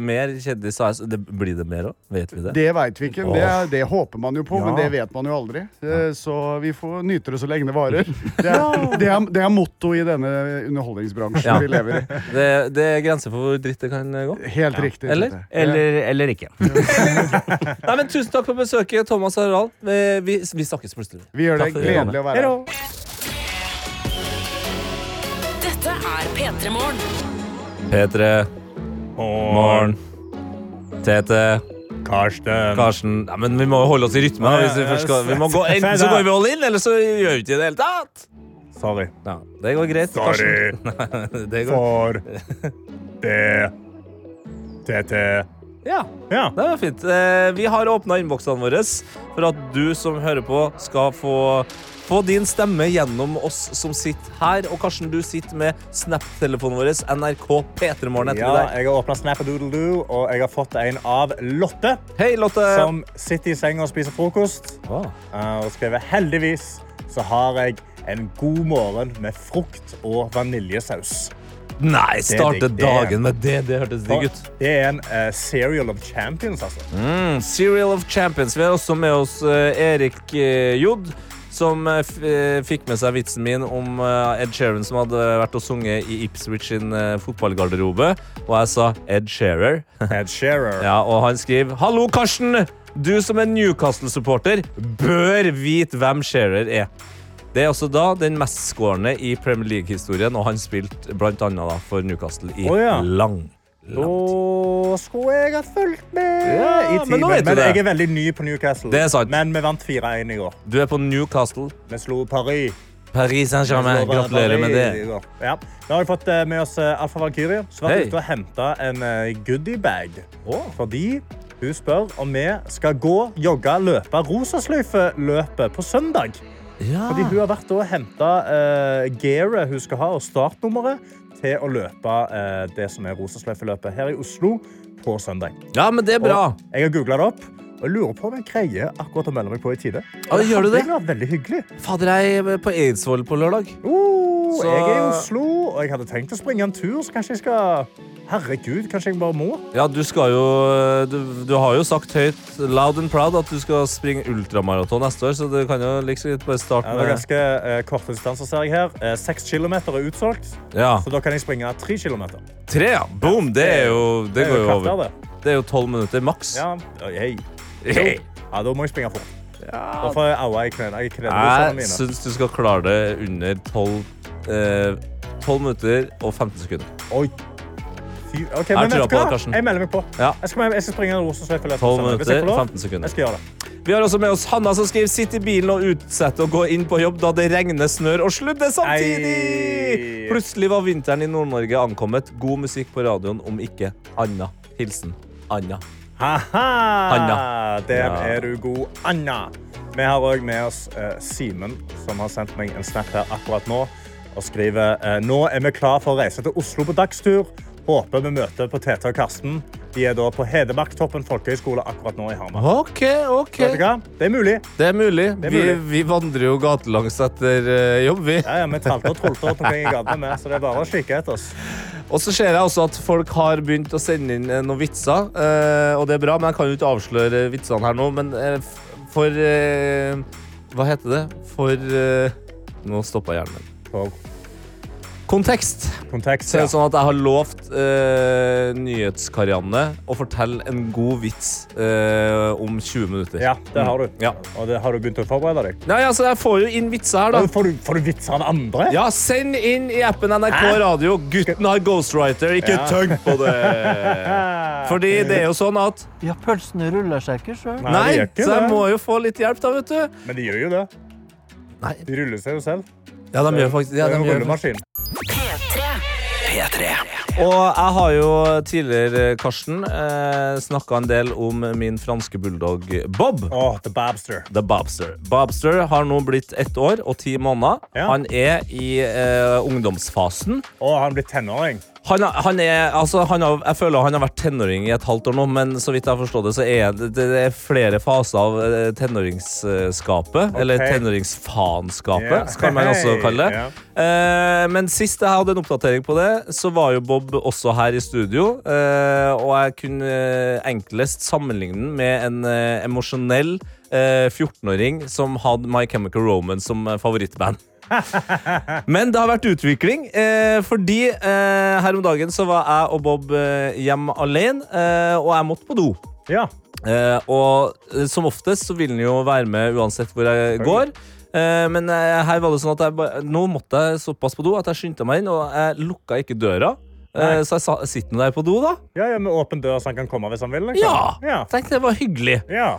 [SPEAKER 3] mer kjendiser. Det, blir det mer òg? Vet vi det?
[SPEAKER 6] Det veit vi ikke. men Det, det håper man jo på, men
[SPEAKER 4] Ja.
[SPEAKER 6] det vet man jo aldri. Eh, Så vi får nyte det så lenge det
[SPEAKER 3] [laughs]
[SPEAKER 6] varer. Det er, det er, det er motto i denne underholdningsbransjen
[SPEAKER 3] Ja.
[SPEAKER 6] vi lever i.
[SPEAKER 3] Det, det er grenser for hvor dritt det kan gå.
[SPEAKER 6] Helt riktig.
[SPEAKER 3] Eller?
[SPEAKER 6] Tete.
[SPEAKER 8] Eller, eller ikke.
[SPEAKER 3] Nei, men Tusen takk for besøket, Thomas og Harald. Vi, vi, vi snakkes plutselig.
[SPEAKER 6] Vi gjør det
[SPEAKER 3] Takk for det.
[SPEAKER 6] gledelig å være her.
[SPEAKER 2] Dette er P3 Morgen.
[SPEAKER 3] P3, Morn, Tete,
[SPEAKER 4] Karsten.
[SPEAKER 3] Karsten Nei, men Vi må jo holde oss i rytme. da, Hvis vi først skal, vi må gå, enten så går vi all in, eller så gjør vi ikke det i det hele tatt.
[SPEAKER 4] Sorry.
[SPEAKER 3] Ja, det går greit.
[SPEAKER 4] Sorry
[SPEAKER 3] Karsten. [laughs] Det går.
[SPEAKER 4] for det. TT.
[SPEAKER 3] Ja.
[SPEAKER 4] Ja.
[SPEAKER 3] Det var fint. Eh, Vi har åpna innboksene våre for at du som hører på, skal få, få din stemme gjennom oss som sitter her. Og Karsten, du sitter med Snap-telefonen vår, NRK P3morgen etter
[SPEAKER 4] Ja,
[SPEAKER 3] deg.
[SPEAKER 4] jeg har åpna Snapadoodledoo, og jeg har fått en av Lotte,
[SPEAKER 3] Hei, Lotte.
[SPEAKER 4] som sitter i senga og spiser frokost.
[SPEAKER 3] Åh.
[SPEAKER 4] Eh, Og skriver heldigvis så har jeg en god morgen med frukt og vaniljesaus.
[SPEAKER 3] Nei, starte
[SPEAKER 4] digg, det.
[SPEAKER 3] dagen med det. Det hørtes digg ut.
[SPEAKER 4] Det er en eh, serial of champions, altså.
[SPEAKER 3] [laughs] Mm, Serial of Champions. Vi har også med oss eh, Erik eh, Jod, som eh, f eh, fikk med seg vitsen min om eh, Ed Sheeran som hadde vært og sunget i Ipswich sin eh, fotballgarderobe, og jeg sa Ed Shearer.
[SPEAKER 4] Ed Shearer.
[SPEAKER 3] Ja, og han skriver Hallo, Karsten! Du som er Newcastle-supporter bør vite hvem Shearer er. Det er også da den mestskårende i Premier League-historien, og han spilte blant annet da for Newcastle i
[SPEAKER 4] Å, ja.
[SPEAKER 3] lang, lang tid.
[SPEAKER 4] Da skulle jeg ha fulgt med
[SPEAKER 3] Ja,
[SPEAKER 4] i
[SPEAKER 3] men
[SPEAKER 4] timen.
[SPEAKER 3] nå vet
[SPEAKER 4] Men,
[SPEAKER 3] du det.
[SPEAKER 4] jeg er veldig ny på Newcastle.
[SPEAKER 3] Det er sant.
[SPEAKER 4] Men vi vant 4-1 i går.
[SPEAKER 3] Du er på Newcastle.
[SPEAKER 4] Vi slo Paris.
[SPEAKER 3] Paris Saint-Germain.
[SPEAKER 4] Vi slo
[SPEAKER 3] Gratulerer med
[SPEAKER 4] Paris
[SPEAKER 3] det.
[SPEAKER 4] i går. Ja. Nå har vi fått eh, med oss eh, Alfa Valkyrie, som har
[SPEAKER 3] Hei.
[SPEAKER 4] vært ute og henta en eh, goodiebag. Fordi hun spør om vi skal gå, jogge, løpe Rosasløyfe-løpet på søndag.
[SPEAKER 3] Ja.
[SPEAKER 4] Fordi hun har vært og henta uh, gearet hun skal ha, og startnummeret, til å løpe eh, det som er Rosasløyfe-løpet her i Oslo på søndag.
[SPEAKER 3] ja, men det er bra.
[SPEAKER 4] Og jeg har googla det opp. Og jeg lurer på om jeg greier akkurat å melde meg på i tide.
[SPEAKER 3] Ja, gjør du det?
[SPEAKER 4] hadde egentlig vært veldig hyggelig.
[SPEAKER 3] Fader, jeg er på Eidsvoll på lørdag.
[SPEAKER 4] Oh,
[SPEAKER 3] Så-
[SPEAKER 4] Jeg er i Oslo, og jeg hadde tenkt å springe en tur, så kanskje jeg skal Herregud, kanskje jeg bare må?
[SPEAKER 3] Ja, du skal jo eh, Du, du har jo sagt høyt, loud and proud, at du skal springe ultramaraton neste år, så du kan jo liksom bare starte
[SPEAKER 4] Ja, Det er
[SPEAKER 3] med
[SPEAKER 4] ganske eh, korte distanser, ser jeg her. Eh, Seks kilometer er utsolgt,
[SPEAKER 3] Ja.
[SPEAKER 4] så da kan jeg springe tre kilometer.
[SPEAKER 3] Tre, ja. Boom! Det er jo Det går jo
[SPEAKER 4] kvarter,
[SPEAKER 3] over.
[SPEAKER 4] det.
[SPEAKER 3] Det er jo tolv minutter maks.
[SPEAKER 4] Ja, hei.
[SPEAKER 3] Hei.
[SPEAKER 4] Ja, da må jeg springe fort. Da får jeg aua i knærne. Jeg kledde sånn
[SPEAKER 3] Jeg
[SPEAKER 4] mine.
[SPEAKER 3] syns du skal klare det under tolv eh, 12 minutter og 15 sekunder.
[SPEAKER 4] Oi. Fy, ok,
[SPEAKER 3] Jeg tror
[SPEAKER 4] men vet
[SPEAKER 3] på
[SPEAKER 4] du
[SPEAKER 3] deg,
[SPEAKER 4] hva?
[SPEAKER 3] Karsten.
[SPEAKER 4] Jeg melder meg på.
[SPEAKER 3] Ja.
[SPEAKER 4] Jeg, skal, jeg skal springe en rosensløyfe. løpet
[SPEAKER 3] 12
[SPEAKER 4] sammen. Hvis
[SPEAKER 3] minutter,
[SPEAKER 4] jeg får lov,
[SPEAKER 3] 15 sekunder.
[SPEAKER 4] Jeg skal gjøre det.
[SPEAKER 3] Vi har også med oss Hanna som skriver Sitt i bilen og utsett å gå inn på jobb da det regner, snør og sludder samtidig.
[SPEAKER 4] Ei.
[SPEAKER 3] Plutselig var vinteren i Nord-Norge ankommet. God musikk på radioen, om ikke Anna. Hilsen Anna.
[SPEAKER 4] Haha!
[SPEAKER 3] Anna.
[SPEAKER 4] Der
[SPEAKER 3] Ja.
[SPEAKER 4] er du god, Anna. Vi har òg med oss eh, Simen, som har sendt meg en snap her akkurat nå. Og skriver eh, nå er vi klar for å reise til Oslo på dagstur. Håper vi møter på Tete og Karsten. De er da på Hedmarktoppen folkehøgskole akkurat nå i Hamar.
[SPEAKER 3] OK, OK.
[SPEAKER 4] Vet du hva? Det er mulig.
[SPEAKER 3] Det er mulig.
[SPEAKER 4] Det er
[SPEAKER 3] vi,
[SPEAKER 4] mulig.
[SPEAKER 3] vi vandrer jo gatelangs etter eh, jobb, vi.
[SPEAKER 4] Ja, ja, Vi tralte og trolte rundt omkring i gatene, med, så det er bare å kikke etter oss.
[SPEAKER 3] Og så ser jeg også at folk har begynt å sende inn eh, noen vitser, eh, og det er bra, men jeg kan jo ikke avsløre vitsene her nå, men eh, f- for eh, Hva heter det? For eh, Nå stoppa hjernen min.
[SPEAKER 4] For
[SPEAKER 3] Kontekst.
[SPEAKER 4] kontekst,
[SPEAKER 3] Så er
[SPEAKER 4] ja.
[SPEAKER 3] det sånn at jeg har lovt eh, Nyhetskarianne å fortelle en god vits eh, om 20 minutter.
[SPEAKER 4] ja, det har du.
[SPEAKER 3] Mm, Ja.
[SPEAKER 4] Og det har du begynt å forberede deg.
[SPEAKER 3] Nei, altså, jeg får jo inn vitser her, da.
[SPEAKER 4] Ja, Får du, får du vitser av andre?
[SPEAKER 3] Ja, send inn i appen NRK Radio. Gutten har ghostwriter. Ikke
[SPEAKER 4] Ja.
[SPEAKER 3] tøgg på det.
[SPEAKER 4] [laughs]
[SPEAKER 3] Fordi det er jo sånn at
[SPEAKER 5] Ja, pølsene ruller seg ikke sjøl.
[SPEAKER 4] Nei,
[SPEAKER 3] Nei,
[SPEAKER 4] de gjør ikke
[SPEAKER 3] så jeg
[SPEAKER 4] det.
[SPEAKER 3] må jo få litt hjelp, da, vet du.
[SPEAKER 4] Men de gjør jo det.
[SPEAKER 3] Nei.
[SPEAKER 4] De ruller seg jo selv.
[SPEAKER 3] Ja, de gjør faktisk ja,
[SPEAKER 4] det
[SPEAKER 3] de
[SPEAKER 4] er en
[SPEAKER 3] gjør.
[SPEAKER 4] rullemaskin.
[SPEAKER 2] P3.
[SPEAKER 1] P3
[SPEAKER 3] Og jeg har jo tidligere, Karsten, eh, snakka en del om min franske bulldog Bob.
[SPEAKER 4] Å, The Babster.
[SPEAKER 3] The Bobster. Bobster har nå blitt ett år og ti måneder.
[SPEAKER 4] Ja.
[SPEAKER 3] Han er i eh, ungdomsfasen.
[SPEAKER 4] Å, han blir tenåring.
[SPEAKER 3] Han, har- han er, altså, han har, jeg føler han har vært tenåring i et halvt år nå, men så vidt jeg forstår det, så er det, det er flere faser av eh, tenåringsskapet. Eller tenåringsfanskapet,
[SPEAKER 4] Ja.
[SPEAKER 3] kan man også kalle det.
[SPEAKER 4] Ja.
[SPEAKER 3] Eh, men sist jeg hadde en oppdatering på det, så var jo Bob også her i studio. eh, og jeg kunne eh, enklest sammenligne den med en eh, emosjonell eh, 14-åring som hadde My Chemical Romance som eh,
[SPEAKER 4] [laughs]
[SPEAKER 3] favorittband. Men det har vært utvikling, eh, fordi eh, her om dagen så var jeg og Bob eh, hjem alene, eh, og jeg måtte på do.
[SPEAKER 4] Ja.
[SPEAKER 3] Eh, og eh, som oftest så vil den jo være med uansett hvor jeg går. Eh, men eh, her var det sånn at jeg ba, nå måtte jeg såpass på do at jeg skyndte meg inn, og jeg lukka ikke døra. Eh, så jeg sa, sitter nå der på do, da.
[SPEAKER 4] ja, ja, med åpen dør, så han kan komme hvis han
[SPEAKER 3] Ja!
[SPEAKER 4] vil. Liksom. Ja.
[SPEAKER 3] Tenkte det var hyggelig.
[SPEAKER 4] ja.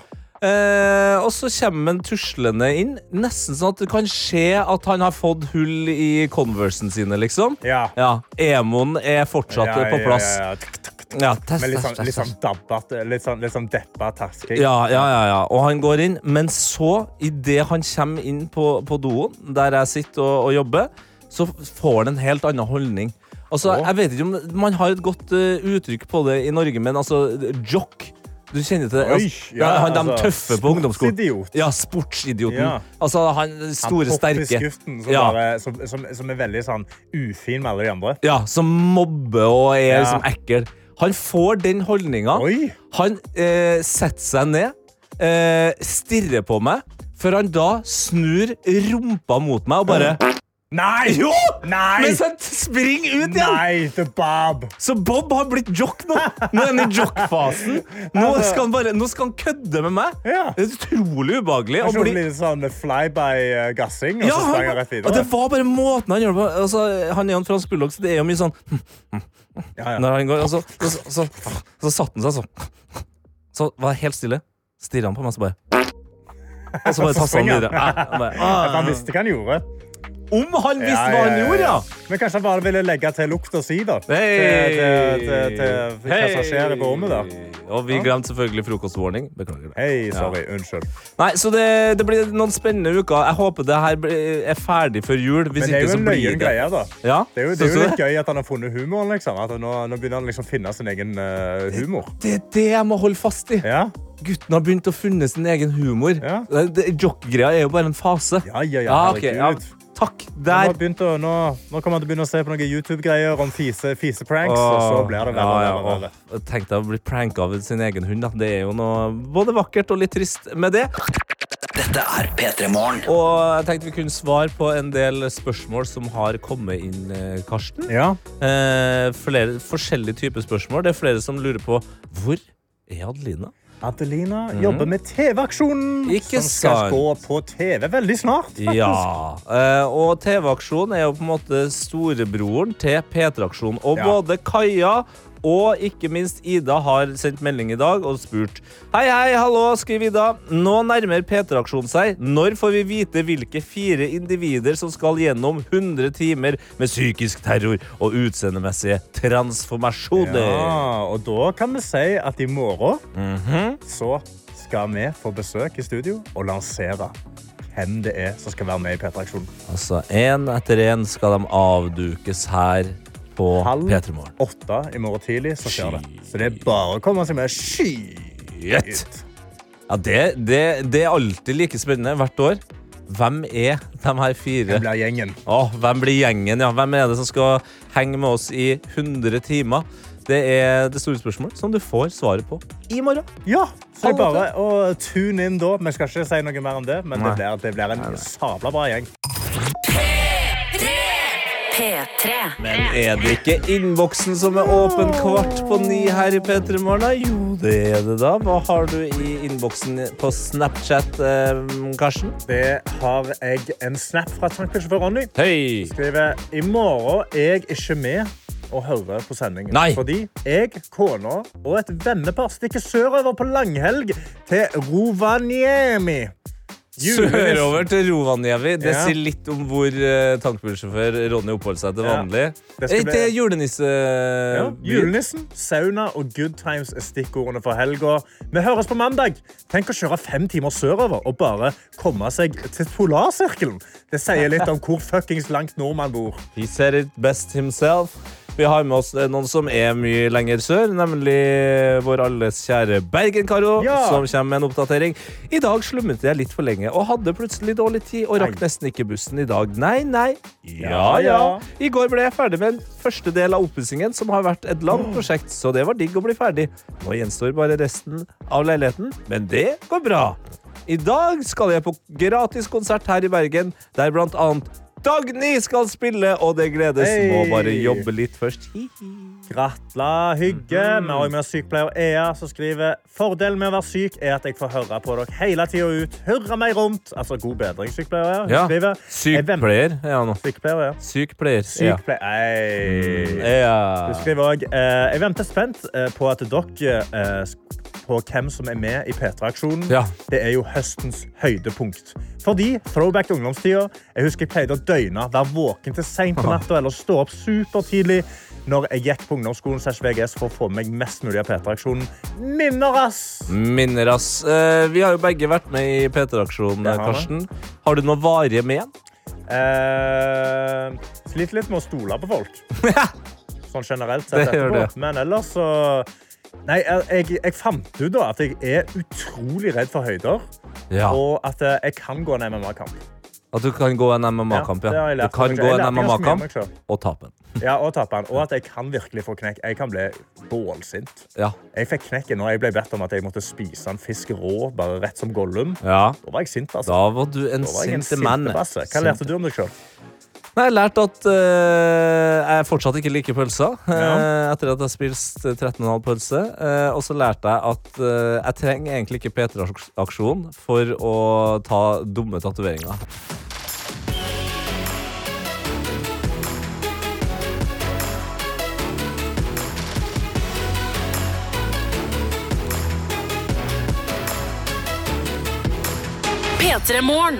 [SPEAKER 3] Eh, og så kommer han tuslende inn, nesten sånn at det kan skje at han har fått hull i Conversen sine, liksom.
[SPEAKER 4] Ja.
[SPEAKER 3] Ja, Emoen er fortsatt
[SPEAKER 4] Ja,
[SPEAKER 3] på
[SPEAKER 4] ja,
[SPEAKER 3] plass.
[SPEAKER 4] ja, ja. Tuk, tuk, tuk.
[SPEAKER 3] Ja, test,
[SPEAKER 4] Med litt
[SPEAKER 3] test,
[SPEAKER 4] sånn,
[SPEAKER 3] test,
[SPEAKER 4] litt sånn
[SPEAKER 3] test.
[SPEAKER 4] dabbet, litt sånn, litt sånn deppa tasking.
[SPEAKER 3] Ja, ja, ja, ja. Og han går inn, men så, idet han kommer inn på, på doen, der jeg sitter og, og jobber, så får han en helt annen holdning. Altså,
[SPEAKER 4] Å.
[SPEAKER 3] jeg vet ikke om Man har et godt eh, uttrykk på det i Norge, men altså jock Du kjenner til det?
[SPEAKER 4] Oi,
[SPEAKER 3] altså,
[SPEAKER 4] ja,
[SPEAKER 3] han, de
[SPEAKER 4] altså,
[SPEAKER 3] tøffe på ungdomsskolen.
[SPEAKER 4] sportsidiot.
[SPEAKER 3] Ja, sportsidioten.
[SPEAKER 4] Ja.
[SPEAKER 3] Altså han store,
[SPEAKER 4] Han popper i
[SPEAKER 3] sterke.
[SPEAKER 4] skuften, som,
[SPEAKER 3] Ja.
[SPEAKER 4] bare, som, som, som er veldig sånn ufin med alle de andre.
[SPEAKER 3] ja, som mobber og er
[SPEAKER 4] Ja.
[SPEAKER 3] liksom ekkel. Han får den holdninga.
[SPEAKER 4] Oi!
[SPEAKER 3] Han eh, setter seg ned, eh, stirrer på meg, før han da snur rumpa mot meg og bare
[SPEAKER 4] Nei!
[SPEAKER 3] Jo!
[SPEAKER 4] Nei!
[SPEAKER 3] Mens han springer ut igjen!
[SPEAKER 4] Nei, The Bob!
[SPEAKER 3] Så Bob har blitt jock nå. Nå er han i jock-fasen. Nå,
[SPEAKER 4] Altså-
[SPEAKER 3] skal han bare- nå skal han kødde med meg.
[SPEAKER 4] Ja.
[SPEAKER 3] Det er utrolig ubehagelig.
[SPEAKER 4] Han
[SPEAKER 3] å bli-
[SPEAKER 4] blir litt sånn flyby-gassing, og
[SPEAKER 3] Ja,
[SPEAKER 4] så sprang
[SPEAKER 3] han,
[SPEAKER 4] han rett
[SPEAKER 3] og det
[SPEAKER 4] videre.
[SPEAKER 3] var bare måten han gjør det på. Altså, han er jo en fransk bulldog, så det er jo mye sånn
[SPEAKER 4] Ja, ja.
[SPEAKER 3] når han går, og så, og så, så, så, satte han seg sånn. Så var det helt stille. Stirra han på meg, så bare Og
[SPEAKER 4] [laughs]
[SPEAKER 3] så bare tassa han
[SPEAKER 4] springer
[SPEAKER 3] videre. Nei, han bare,
[SPEAKER 4] Han
[SPEAKER 3] ah.
[SPEAKER 4] visste hva han gjorde.
[SPEAKER 3] Om han visste
[SPEAKER 4] Ja,
[SPEAKER 3] hva han
[SPEAKER 4] ja, ja,
[SPEAKER 3] gjorde, ja!
[SPEAKER 4] Men kanskje han bare ville legge til lukt og si, da. Til,
[SPEAKER 3] Hei!
[SPEAKER 4] til, til, til, hva som skjer i rommet der.
[SPEAKER 3] Og vi glemte selvfølgelig frokostwarning. Beklager det.
[SPEAKER 4] Hei, sorry. Unnskyld.
[SPEAKER 3] Nei, så det, det blir noen spennende uker. Jeg håper det her blir- er ferdig før jul. Hvis
[SPEAKER 4] Men det
[SPEAKER 3] ikke,
[SPEAKER 4] er jo
[SPEAKER 3] så
[SPEAKER 4] en
[SPEAKER 3] blir
[SPEAKER 4] løyen
[SPEAKER 3] det
[SPEAKER 4] greie, da.
[SPEAKER 3] Ja,
[SPEAKER 4] Det er jo, det er
[SPEAKER 3] synes du
[SPEAKER 4] jo litt gøy at han har funnet humoren, liksom. At nå, nå begynner han liksom å finne sin egen eh, humor.
[SPEAKER 3] Det er det jeg må holde fast i.
[SPEAKER 4] Ja,
[SPEAKER 3] Gutten har begynt å funne sin egen humor.
[SPEAKER 4] Ja.
[SPEAKER 3] Det- det- Jock-greia er jo bare en fase.
[SPEAKER 4] ja, ja. ja
[SPEAKER 3] Ja, Ah, ok,
[SPEAKER 4] herregud.
[SPEAKER 3] ja. Takk.
[SPEAKER 4] Nå, har
[SPEAKER 3] Der.
[SPEAKER 4] han begynt å, nå, nå kommer han til å begynne å se på noen YouTube-greier om fise, fisepranks, og
[SPEAKER 3] Åh.
[SPEAKER 4] så blir det verre og verre. og verre.
[SPEAKER 3] åh. Tenk deg å bli pranka av sin egen hund. Da. Det er jo noe både vakkert og litt trist med det.
[SPEAKER 1] Dette er P3 Morgen
[SPEAKER 3] Og jeg tenkte vi kunne svare på en del spørsmål som har kommet inn, eh, Karsten.
[SPEAKER 4] Ja.
[SPEAKER 3] Eh, flere, forskjellige typer spørsmål. Det er flere som lurer på hvor er Adelina?
[SPEAKER 4] Adelina jobber med TV-aksjonen,
[SPEAKER 3] Mhm. Ikke
[SPEAKER 4] som skal
[SPEAKER 3] sant.
[SPEAKER 4] gå på TV veldig snart. faktisk.
[SPEAKER 3] Ja. [laughs] Eh, og TV-aksjonen er jo på en måte storebroren til P3-aksjonen. Og
[SPEAKER 4] Ja.
[SPEAKER 3] både Kaja og ikke minst Ida har sendt melding i dag og spurt. Hei, hei, hallo, skriver Ida. Nå nærmer P3-aksjonen seg. Når får vi vite hvilke fire individer som skal gjennom 100 timer med psykisk terror og utseendemessige transformasjoner?
[SPEAKER 4] Ja, og da kan vi si at i morgen
[SPEAKER 3] Mhm.
[SPEAKER 4] så skal vi få besøk i studio og lansere hvem det er som skal være med i P3-aksjonen.
[SPEAKER 3] Altså, én etter én skal de avdukes her på
[SPEAKER 4] Halv
[SPEAKER 3] P3 Morgen.
[SPEAKER 4] åtte i morgen tidlig, så skjer det. Så det er bare å komme seg med skyt.
[SPEAKER 3] Ja, det, det, det er alltid like spennende hvert år. Hvem er de her fire?
[SPEAKER 4] Det blir gjengen.
[SPEAKER 3] Åh, hvem blir gjengen? Ja? Hvem er det som skal henge med oss i 100 timer? Det er det store spørsmålet som du får svaret på i morgen.
[SPEAKER 4] Ja, så det
[SPEAKER 3] Halv
[SPEAKER 4] er bare å tune inn da. Vi skal ikke si noe mer om det, men det blir, det blir en sabla bra gjeng.
[SPEAKER 2] P3.
[SPEAKER 3] Men er det ikke innboksen som er åpen kvart på ni her i P3 Morgen? da? Jo, det er det, da. Hva har du i innboksen på Snapchat, eh, Karsten?
[SPEAKER 4] Det har jeg en snap fra tankbilsjåfør Ronny.
[SPEAKER 3] Hei!
[SPEAKER 4] Skriver i morgen er jeg ikke med og hører på sendingen.
[SPEAKER 3] Nei.
[SPEAKER 4] Fordi jeg, kona og et vennepar stikker sørover på langhelg til Rovaniemi. Julenis-
[SPEAKER 3] Sørover til Rovaniemi. Det
[SPEAKER 4] Ja.
[SPEAKER 3] sier litt om hvor eh, tankbilsjåfør Ronny oppholder seg til
[SPEAKER 4] Ja.
[SPEAKER 3] vanlig.
[SPEAKER 4] Det
[SPEAKER 3] Eh,
[SPEAKER 4] skal
[SPEAKER 3] Til
[SPEAKER 4] bli-
[SPEAKER 3] julenisse... eh,
[SPEAKER 4] Ja, Julenissen, sauna og good times er stikkordene for helga. Vi høres på mandag. Tenk å kjøre fem timer sørover og bare komme seg til polarsirkelen. Det sier litt om hvor fuckings langt nord man bor.
[SPEAKER 3] He said it best himself. Vi har med oss eh, noen som er mye lenger sør, nemlig eh, vår alles kjære Bergen-Karo,
[SPEAKER 4] Ja.
[SPEAKER 3] som kommer med en oppdatering. I dag slummet jeg litt for lenge og hadde plutselig dårlig tid og rakk
[SPEAKER 4] Nei.
[SPEAKER 3] nesten ikke bussen i dag. Nei, nei. Ja, ja.
[SPEAKER 4] Ja, ja.
[SPEAKER 3] I går ble jeg ferdig med en første del av oppussingen, som har vært et langt prosjekt, så det var digg å bli ferdig. Nå gjenstår bare resten av leiligheten, men det går bra. I dag skal jeg på gratis konsert her i Bergen, der blant annet Dagny skal spille, og det gledes.
[SPEAKER 4] Hei!
[SPEAKER 3] Må bare jobbe litt først. Hi.
[SPEAKER 4] Gratla, hygge.
[SPEAKER 3] Mhm.
[SPEAKER 4] Vi har også med oss sykepleier Ea, som skriver fordelen med å være syk er at jeg får høre på dere hele tida ut. Hurra meg rundt. Altså, god bedring, sykepleier. Ea. Hun skriver, «Jeg venter-
[SPEAKER 3] Sykepleier. Ja, nå.
[SPEAKER 4] Sykepleier, ja.
[SPEAKER 3] Sykepleier. Ja.
[SPEAKER 4] Sykepleier. Ei. Du
[SPEAKER 3] Ja.
[SPEAKER 4] skriver òg eh, Jeg venter spent eh, på at dere eh, sk- på hvem som er med i P3-aksjonen.
[SPEAKER 3] Ja.
[SPEAKER 4] Det er jo høstens høydepunkt. Fordi throwback til ungdomstida. Jeg husker jeg pleide å døgne, være våken til seint på natta eller stå opp supertidlig når jeg gikk på ungdomsskolen slash VGS for å få med meg mest mulig av P3-aksjonen. Minner, ass!
[SPEAKER 3] Minner, ass. Eh, Vi har jo begge vært med i P3-aksjonen,
[SPEAKER 4] Det har vi.
[SPEAKER 3] Karsten. Har du noe varige men?
[SPEAKER 4] Eh, sliter litt med å stole på folk. Sånn generelt sett
[SPEAKER 3] Det gjør
[SPEAKER 4] etterpå.
[SPEAKER 3] det.
[SPEAKER 4] Men ellers så Nei, jeg, jeg, jeg fant ut da at jeg er utrolig redd for høyder.
[SPEAKER 3] Ja.
[SPEAKER 4] Og at eh, jeg kan gå en MMA-kamp.
[SPEAKER 3] At du kan gå en MMA-kamp,
[SPEAKER 4] det har
[SPEAKER 3] ja.
[SPEAKER 4] jeg
[SPEAKER 3] Du
[SPEAKER 4] lært
[SPEAKER 3] kan
[SPEAKER 4] meg
[SPEAKER 3] gå
[SPEAKER 4] selv.
[SPEAKER 3] en
[SPEAKER 4] Jeg lærte ganske mye om meg
[SPEAKER 3] MMA-kamp
[SPEAKER 4] selv.
[SPEAKER 3] og tape den.
[SPEAKER 4] Ja, og tape den. Og at jeg kan virkelig få knekk. Jeg kan bli bålsint.
[SPEAKER 3] Ja.
[SPEAKER 4] Jeg fikk knekken når jeg ble bedt om at jeg måtte spise en fisk rå, bare rett som Gollum.
[SPEAKER 3] ja.
[SPEAKER 4] Da var jeg sint, altså.
[SPEAKER 3] Da var du en
[SPEAKER 4] Da var jeg en
[SPEAKER 3] sinte mann.
[SPEAKER 4] sintebasse. Hva lærte du om deg sjøl?
[SPEAKER 3] Nei, jeg har lært at eh, jeg fortsatt ikke liker pølser. eh, etter at jeg spiste 13,5 pølse. Eh, og så lærte jeg at eh, jeg trenger egentlig ikke P3-aksjon for å ta dumme tatoveringer.
[SPEAKER 2] P3 Morgen.